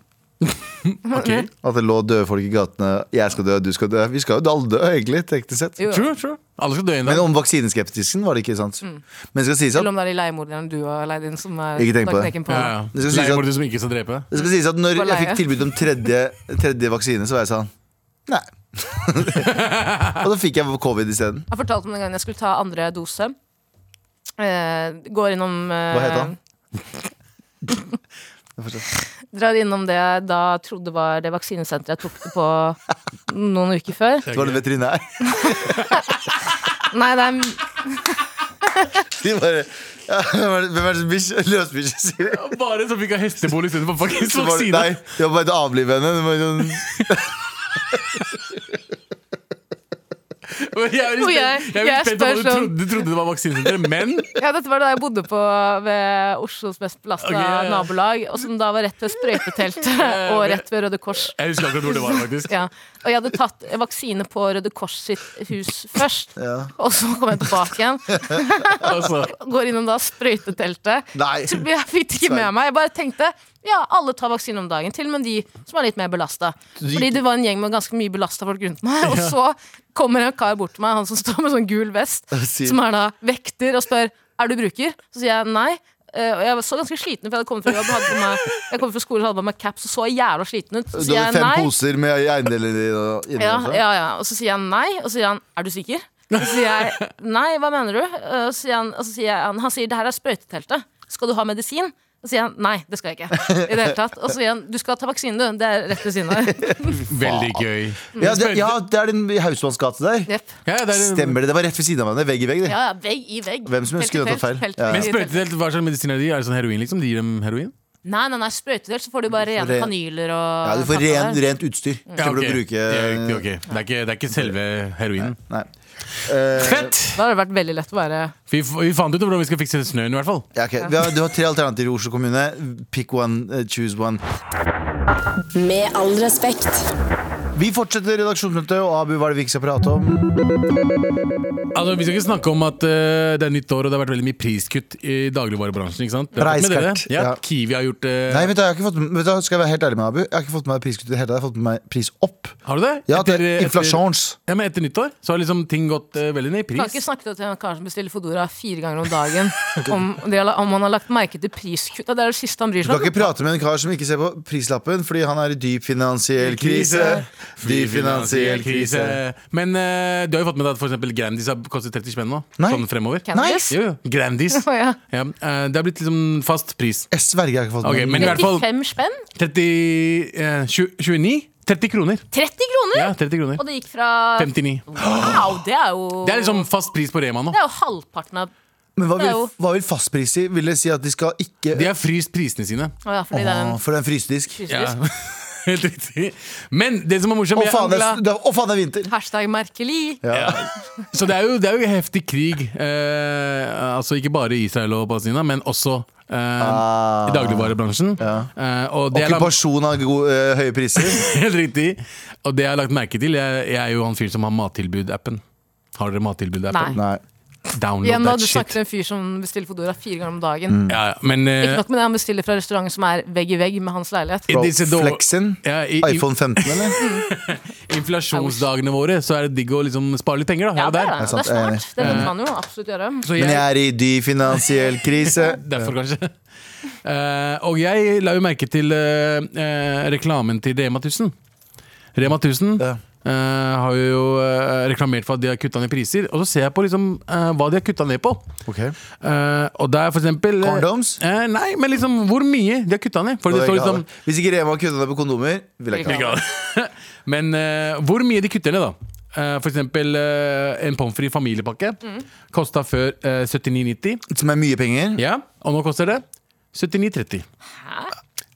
Ok. At det lå døde folk i gatene. Jeg skal dø, du skal dø. Vi skal jo alle dø, egentlig. teknisk sett Jo. True, true. Alle skal dø en Men dag. om vaksineskeptisken var det ikke sant. Men det skal sies at, Mm. Eller om det er de leiemorderne du har leid inn som er Ikke tenk på da det. knekken Ja, den. Det ja. skal sies at- Leiemorder som ikke skal drepe. det skal sies at når På jeg leie. fikk tilbud om tredje, tredje vaksine, så var jeg sånn Nei. og da fikk jeg covid isteden. Jeg fortalte om den gangen jeg skulle ta andre dose. Eh, går innom eh, Hva het han? Drar innom det jeg da trodde var det vaksinesenteret jeg tok det på noen uker før. Det var en veterinær. [laughs] Nei, det er De bare ja, Hvem er det som [laughs] bikkje? Løsbikkje, sier de. Bare som fikk av hestebol istedenfor faktisk Så var det- vaksine. Nei, de var bare til å avlive henne. Det var sånn, Og Jeg er Og litt jeg- spent- jeg er jeg litt spent på hva spør du sånn- trodde, du trodde det var vaksinesenteret, men Ja, dette var da jeg bodde på ved Oslos mest belasta Ok, ja, ja. nabolag, og som da var rett ved [laughs] sprøyteteltet og rett ved Røde Kors. jeg husker akkurat hvor det var. faktisk Ja. Og jeg hadde tatt vaksine på Røde Kors sitt hus først, Ja. og så kom jeg tilbake igjen. altså, Går innom da sprøyteteltet. Nei. Så Jeg fikk det ikke med meg. Jeg bare tenkte ja, alle tar vaksine om dagen, til og med de som er litt mer belasta. Fordi det var en gjeng med ganske mye belasta folk rundt meg, og så kommer en kar bort til meg, han som står med sånn gul vest, sier- som er da vekter, og spør er du bruker. Så sier jeg nei. Eh, og jeg var så ganske sliten, for jeg hadde kommet fra jobb, hadde på meg, jeg kom fra skolen hadde på meg caps og så jævla sliten ut. Så du sier jeg hadde fem nei. poser med eiendeler i- inni Ja, også. ja, ja. Og så sier han nei, og så sier han er du sikker? Og så sier jeg nei, hva mener du? Og så sier han, og så sier jeg, han, han sier det her er sprøyteteltet, skal du ha medisin? Og så sier han nei, det skal jeg ikke. I det hele tatt. Og så sier han du skal ta vaksine, du. Det er rett ved siden av. Veldig gøy. Ja, det, ja, det er den i Hausmanns gate der. Jepp. Ja, det er, Stemmer det. Det var rett ved siden av hverandre. Vegg i vegg. det. Ja, ja, vegg i vegg. Hvem som Felt i skulle ha felt, tatt feil? felt i Ja. Men felt. sprøytetelt, hva slags medisiner de? Er det sånn heroin, liksom? De gir dem heroin? Nei, nei, nei, sprøytedelt så får du bare rene ren- kanyler og Ja, du får ren, rent utstyr. Ja, Slipper ok. å bruke Ja, riktig, ok. det, er ikke, det er ikke selve heroinen. Nei. Eh, Fett! Da har det vært veldig lett å være Vi, f- vi fant ut hvordan vi skal fikse snøen, i hvert fall. ja, ok. Vi har, du har tre alternativer i Oslo kommune. Pick one, eh, choose one. Med all respekt. Vi fortsetter redaksjonsmøtet, og Abu, hva er det vi ikke skal prate om? Altså, Vi skal ikke snakke om at eh, det er nytt år og det har vært veldig mye priskutt i dagligvarebransjen. ikke sant? Det har fått med Preiskart, dere. Ja, ja. Kiwi har gjort eh, Nei, vet du, jeg har ikke fått, vet du, Skal jeg være helt ærlig med Abu? Jeg har ikke fått med meg priskutt i det hele tatt. Jeg har fått med meg pris opp. Har du det? Ja, Etter- eh, til etter- inflasjons. Ja, men Etter nyttår så har liksom ting gått eh, veldig ned i Kan ikke pris. snakke til en kar som bestiller Fodora fire ganger om dagen, om, det, om han har lagt merke til priskutta. Det er det siste han bryr Du kan seg om. ikke prate med en kar som ikke ser på prislappen fordi han er i dyp finansiell krise. Dyp finansiell krise. Men eh, du har jo fått med deg at for eksempel Grandis har kostet 30 spenn nå. Nei. Sånn fremover. Cannabis? Jo, jo. Grandis. Å, ja. Ja, eh, det har blitt liksom fast pris. Jeg sverger jeg har ikke fått med Ok, meg. men i hvert fall 35 spenn? 30, eh, tju- 29? 30 kroner. 30 kroner! Ja, 30 kroner. Og det gikk fra 59. Wow, det er jo Det er liksom fast pris på Rema nå. det er jo halvparten av Men hva Det er vil, jo- hva vil fastpris si? Vil det si at de skal ikke De har fryst prisene sine. Å ja, fordi det er Åh, en For en frysedisk. fysisk Ja. [laughs] Helt riktig. Men det som er morsomt Å jeg faen, det angla- er, det er, å, faen, det er vinter! Hashtag merkelig. Så det er jo, det er jo heftig krig. Eh, altså ikke bare i Israel og Palestina, men også eh, Ah. i dagligvarebransjen. Eh, og det er lagt, Okkupasjon av gode, eh, høye priser. [laughs] helt riktig. Og det jeg har lagt merke til, jeg, jeg er jo han fyren som har mattilbud-appen. Har dere mattilbud-appen? Nei. Download Igjen da, that du shit. snakker til en fyr som bestiller Foodora fire ganger om dagen. Ja, ja, men eh, Ikke nok med det, han bestiller fra restaurant som er vegg i vegg med hans leilighet. i disse dår- Flexen? ja, i, i, iPhone 15, eller? inflasjonsdagene våre så er det digg å liksom spare litt penger. da her Ja, og det er, der. det. det sant, er smart. jeg Det burde man jo absolutt gjøre. Mm. Så Men jeg er i dyp finansiell krise. [laughs] Derfor, kanskje. Eh, og jeg la jo merke til eh, eh, reklamen til Rema 1000. Rema 1000 Ja. eh, har jo eh, reklamert for at de har kutta ned priser. Og så ser jeg på liksom, eh, hva de har kutta ned på. Ok. Eh, og det er for eksempel eh, Condoms? eh, nei, men liksom hvor mye de har kutta ned. For Og det det er står ikke liksom alle. Hvis ikke Rema kunne det på kondomer, ville jeg ikke ha det. Ikke alle. [laughs] Men eh, hvor mye de kutter ned, da? Eh, for eksempel eh, en pommes frites familiepakke. Kosta før eh, 79,90. Som er mye penger. Ja, og nå koster det 79,30. Det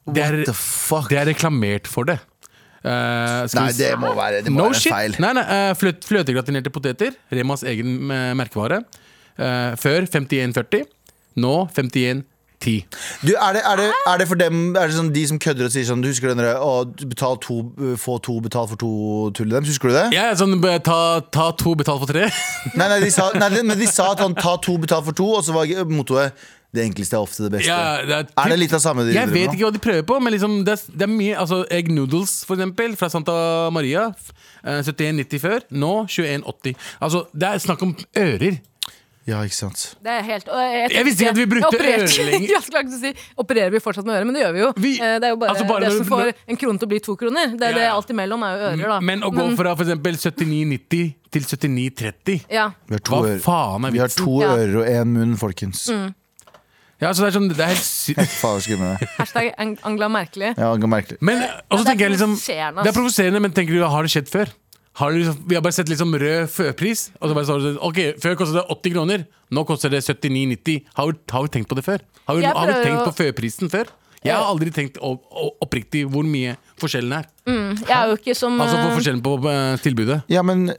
er, What the fuck? det er reklamert for det. Eh, skal Nei, vi s- det må være, det må no være shit. en feil. Nei, nei, eh, fløt, fløtegratinerte poteter, Remas egen eh, merkevare. Eh, før 51,40, nå 51,10. Du, er, det, er, det, er det for dem Er det sånn de som kødder og sier sånn Du husker den der å, betal to, Få to, betal for to-tullet deres? Husker du det? Ja, sånn, eh, ta, ta to, betal for tre. [laughs] Nei, nei, de sa, nei, men de sa at han ta to, betal for to, og så var mottoet Det enkleste er ofte det beste. Ja, det er, typ, Er det litt av samme de Jeg driver vet med? ikke hva de prøver på, men liksom det, er, det er mye altså Egg noodles, for eksempel, fra Santa Maria. eh, 71,90 før. Nå 21,80. Altså, det er snakk om ører. Ja, ikke sant Det er helt, og jeg, Jeg visste ikke at vi brukte opererte- [laughs] ørelinger. Jeg skulle akkurat si, opererer vi fortsatt med ører, men det gjør vi jo. Vi- Eh, det er jo bare, altså bare det når som du- får en krone til å bli to kroner. Det Ja, er det ja. alt imellom er jo ører, da. Men å gå fra for eksempel 79,90 til 79,30 ja. Vi har to, Hva ører. faen er Vi har vitsen? to Ja. Mm. ører og én munn, folkens. Ja, så det er sånn, det er helt sy Faen, skummende. Hashtag Ang- Angela Merkelig. Ja, det er merkelig. Men og det så er tenker jeg liksom provoserende, ass. Det er provoserende, men tenker du, har det skjedd før? Har det liksom, vi har bare sett liksom rød førpris. Og så bare står det sånn, Ok, Før kostet det 80 kroner, nå koster det 79,90. Har, vi- har vi tenkt på det før? Har vi, Jeg har vi prøver tenkt å- på førprisen før? Jeg har aldri tenkt opp, oppriktig hvor mye forskjellen er. Jeg er jo ikke som Altså på eh, forskjellen på eh, tilbudet. Ja, men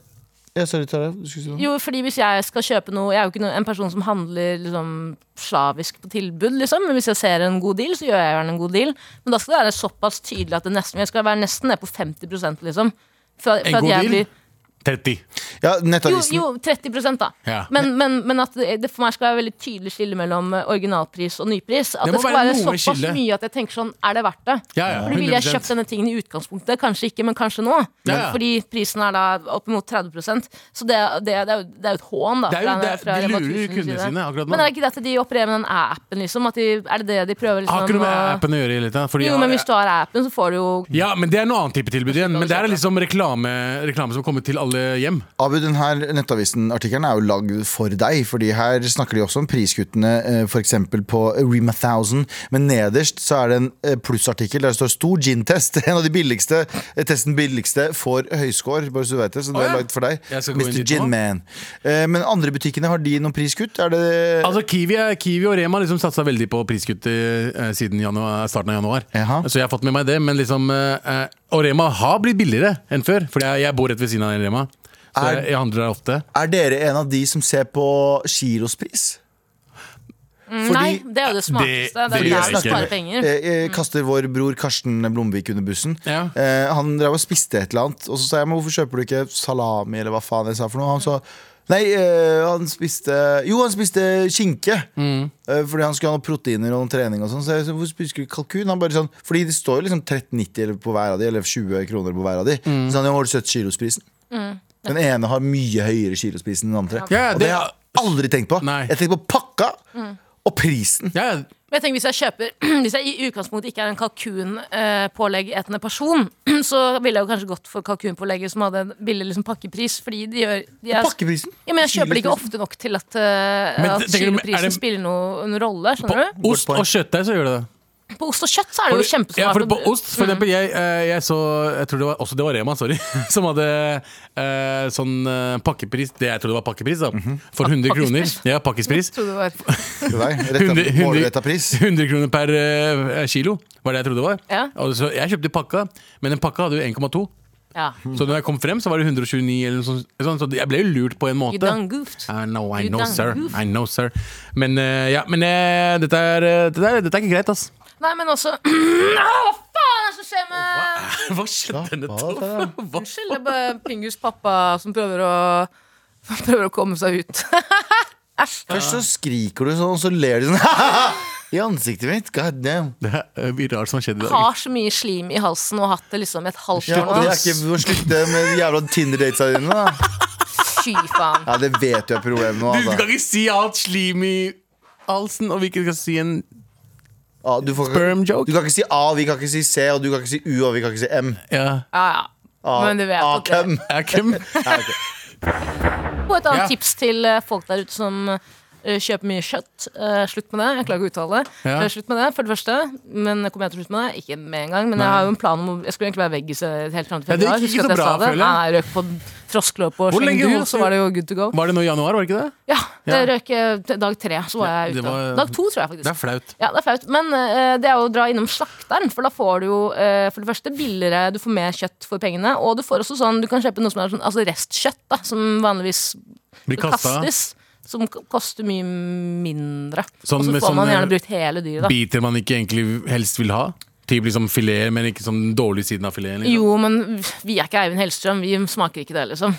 ja, Sorry, Tara. Du skulle si noe? eh, Jo, fordi hvis jeg skal kjøpe noe Jeg er jo ikke noe, en person som handler liksom, slavisk på tilbud, liksom. Men hvis jeg ser en god deal, så gjør jeg gjerne en god deal. Men da skal det være såpass tydelig at det nesten Jeg skal være nesten ned på 50 liksom. For, En for at god jeg blir deal? 30. Ja, jo, Nettavisen. jo, 30 da. Ja. Men, men, men at det det for meg skal være veldig tydelig skille mellom eh, originalpris og nypris. At Det det, må skal være være noe såpass skille. mye at jeg tenker sånn, er det verdt det? Ja, ja, Fordi ville jeg 100%. kjøpt denne tingen i utgangspunktet? Kanskje ikke, men kanskje nå. Ja, ja. Fordi prisen er da opp mot 30 Så det, det, det, er, jo, det er jo et hån, da. Det er jo fra- det- fra de Rema 1000 lurer kundene side. sine akkurat nå. Men er det ikke det at de opererer med den appen, liksom? At de, er det det de prøver liksom Har ikke noe med å- appen å gjøre. Litt, da, fordi Jo, jeg- men hvis du har appen, så får du jo Ja, men Det er noe annet type tilbud igjen. Men det her er liksom reklame, reklame som kommer til alle hjem. Abu, den her Nettavisen-artikkelen er jo lagd for deg, fordi her snakker de også om priskuttene f.eks. på Rema 1000, men nederst så er det en eh, plussartikkel der det står 'stor gin-test'. [laughs] En av de billigste, eh, testen billigste får høyscore, bare så du vet det, så det ja. er lagd for deg. Jeg skal gå inn Mr. dit nå. Gin-man. Eh, Men andre butikkene, har de noen priskutt? Er det Altså Kiwi, Kiwi og Rema har liksom satsa veldig på priskutt eh, siden januar, starten av januar. Jaha. Så jeg har fått med meg det. Men liksom, eh, eh, og Rema har blitt billigere enn før, for jeg, jeg bor rett ved siden av Rema. Så Er- jeg, jeg handler der ofte. Er dere en av de som ser på kilospris? Fordi- Nei, det er jo det smarteste. Det, det er jo der gjør jeg du ikke. sparer penger. Mm. Eh, eh, kaster vår bror Karsten Blomvik under bussen. Ja. Eh, han drev og spiste et eller annet, og så sa jeg men hvorfor kjøper du ikke salami eller hva faen jeg sa for noe. Han sa nei, eh, han spiste Jo, han spiste skinke. Mm. Eh, fordi han skulle ha noen proteiner og noen trening og sånn. Så jeg sa hvorfor spiser du ikke kalkun? Han bare sånn, fordi det står jo liksom 13,90 eller på hver av de, eller 20 kroner på hver av de. Mm. Så han, ja, har du sett kilosprisen? Mm. Den ene har mye høyere kilospris enn den Ja, andre. ja, det- og det har jeg aldri tenkt på. Nei. Jeg tenker på pakka Mm. og prisen. Ja, Men jeg tenker hvis jeg kjøper [clears throat] Hvis jeg i utgangspunktet ikke er en kalkunpåleggetende person, [clears throat] så ville jeg jo kanskje gått for kalkunpålegget som hadde en billig liksom, pakkepris. Fordi de gjør de er, Pakkeprisen. ja, Men jeg kjøper det ikke ofte nok til at, eh, Men at tenker du, er kiloprisen det- spiller noen rolle. på Skjønner du? ost og kjøttdeig så gjør det det. På ost og kjøtt så er det jo kjempesmart. Mm. Ja, for å- på ost, for eksempel, jeg, eh, jeg så Jeg tror det var, også det var Rema, sorry, [laughs] som hadde eh, sånn eh, pakkepris Det jeg trodde var pakkepris, da. Mhm. For 100 kroner. pakkespris. Ja, pakkespris. Tror du det var. [laughs] Til deg. Hundre- Retta, [laughs] hundre- målretta pris. 100 kroner per eh, kilo var det jeg trodde det var. Ja. Og så jeg kjøpte pakka, men den pakka hadde jo 1,2. Ja. Så da jeg kom frem, så var det 129, eller noe sånt. sånn, Så jeg ble jo lurt på en You måte. done goofed. I know, I You know, done sir. goof. I know, sir. Men eh, ja, men eh, dette, er, eh, dette, er, dette er ikke [laughs] greit, ass. Nei, men [clears throat] også Hva faen er det som skjer med Hva skjedde denne [laughs] Hva Unnskyld, det er bare Pingus pappa som prøver å, som prøver å komme seg ut. [laughs] Æsj. Først så skriker du sånn, [laughs] og så ler du sånn i ansiktet mitt. God damn. Det er eh, mye rart som har skjedd i dag. Har så mye slim i halsen og hatt det liksom i et halvt Ja, år og det nå. er ikke Du må slutte med de jævla Tinder-datesa dine. da [laughs] Fy faen. Ja, Det vet du er problemet nå. Du kan Altså. ikke si jeg har hatt slim i halsen, og vi ikke skal si en Ja, du, får, ikke- sperm joke. du kan ikke si A, vi kan ikke si C, og du kan ikke si U, og vi kan ikke si M. Ja. Ja, ja. Ah, A, Men du vet at det A-køm. [laughs] Er Kim Ja, ok. På et annet Ja. tips til eh, folk der ute som eh, kjøper mye kjøtt. Eh, slutt med det. Jeg klarer ikke å uttale det. Ja. Eh, Slutt med det, for det første. Men jeg kommer jeg til å slutte med det? Ikke med en gang. Men jeg har jo en plan om å- Jeg skulle egentlig være veggis eh, helt fram til Ja, det gikk februar. ikke Husker så at jeg bra, sa det? føler jeg. Nei, jeg røk på froskløpet og Hvor lenge slengur, holdt så du- var det jo good to go. [laughs] Var det nå i januar, var det ikke det? Ja, det Ja. røk eh, til dag tre, så var Ja, jeg det ute. var- Dag to, tror jeg faktisk. Det er flaut. Ja, det er flaut. Men eh, det er jo å dra innom slakteren, for da får du jo eh, for det første billigere, du får mer kjøtt for pengene, og du får også sånn, du kan kjøpe noe som er sånn, altså restkjøtt, da, som vanligvis Blir kasta. kastes. Som k- koster mye mindre. Sånn og så med får man sånne- gjerne brukt hele dyret, da. Biter man ikke egentlig helst vil ha? Typ liksom fileter, men ikke sånn den dårlige siden av fileten? Liksom. Jo, men vi er ikke Eivind Hellstrøm. Vi smaker ikke det, liksom.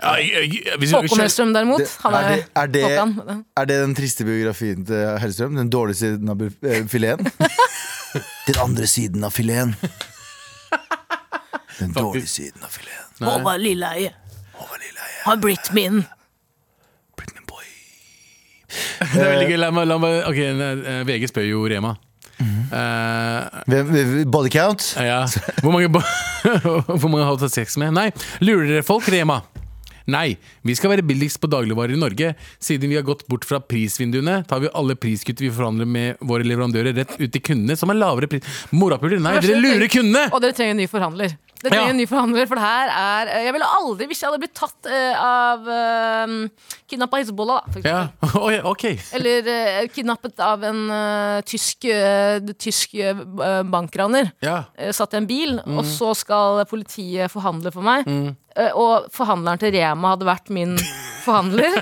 Ja, jeg- jeg- hvis jeg- Håkon Hellstrøm, derimot. Det- Han er, er det- er det- Håkan. Er det den triste biografien til Hellstrøm? Den dårlige siden av bu- eh, fileten? [laughs] Den andre siden av fileten. Den dårlige siden av fileten. Håvard Lilleheie Håvard Lilleheie, har blitt min. Britney Boy. Det er veldig gøy. La meg, la meg, ok, eh, VG spør jo Rema. Eh, Hvem- hvem- Body count? ja. Hvor mange, ba- [laughs] hvor mange har du hatt sex med? Nei. Lurer dere folk, Rema? Nei, vi skal være billigst på dagligvarer i Norge. Siden vi har gått bort fra prisvinduene, tar vi alle priskutt vi forhandler med våre leverandører, rett ut til kundene, som er lavere pris. Morapuler, nei, dere lurer kundene! Og dere trenger en ny forhandler. Dere trenger Ja. en ny forhandler, for det her er eh, Jeg ville aldri, hvis jeg hadde blitt tatt eh, av uh, Kidnappa av Hizbollah, da, for eksempel. Ja, [laughs] Oi, ok. Eller eh, kidnappet av en eh, tysk, eh, tysk eh, bankraner. Ja. Eh, satt i en bil, Mm. og så skal politiet forhandle for meg. Eh, og forhandleren til Rema hadde vært [laughs] min forhandler.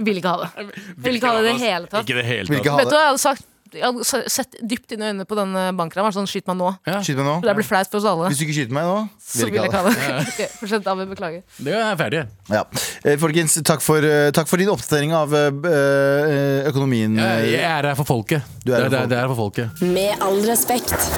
Vil ikke ha det. Vil ikke ha det i det hele tatt. Ikke i det hele Vil ikke tatt. ha Vet du det. hva, jeg hadde sagt jeg hadde se- sett dypt inn i øynene på denne bankraneren. Sånn, skyt meg nå. Ja, Skyt meg For det nå. blir flaut for oss alle. Hvis du ikke skyter meg nå, Så vil jeg ikke ha det. ha det. [laughs] Ok, Fortsett, David. Beklager. det er ferdig. Ja. Eh, Folkens, takk for, eh, takk for din oppdatering av eh, eh, økonomien. Jeg jeg eh. er her for folket. Du er her Det for det er her for folket. Med all respekt.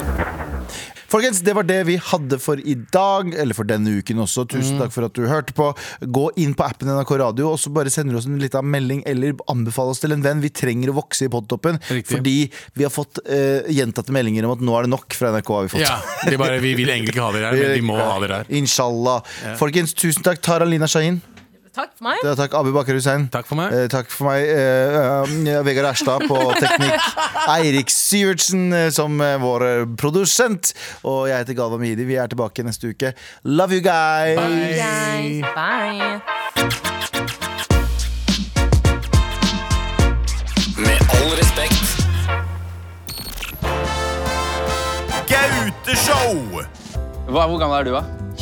Folkens, det var det vi hadde for i dag, eller for denne uken også. Mm. Tusen takk for at du hørte på. Gå inn på appen NRK Radio, og så bare sender du oss en liten melding, eller anbefal oss til en venn. Vi trenger å vokse i podtoppen, Riktig. fordi vi har fått eh, gjentatte meldinger om at nå er det nok fra NRK. har vi fått Ja, det er bare, Vi vil egentlig ikke ha dere her, men vi må ha dere her. Inshallah. Folkens, tusen takk. Tara Lina Shahin. Takk for meg. Ja, Eh, Takk, Abu Bakar Hussein. Takk for meg. Eh, takk for meg. eh, eh, Vegard Erstad [laughs] på teknikk. Eirik Syvertsen eh, som eh, vår eh, produsent. Og jeg heter Galva Midi. Vi er tilbake neste uke. Love you guys! Guys, Bye. Med all respekt. Gauteshow! Hva, hvor gammel er du, da?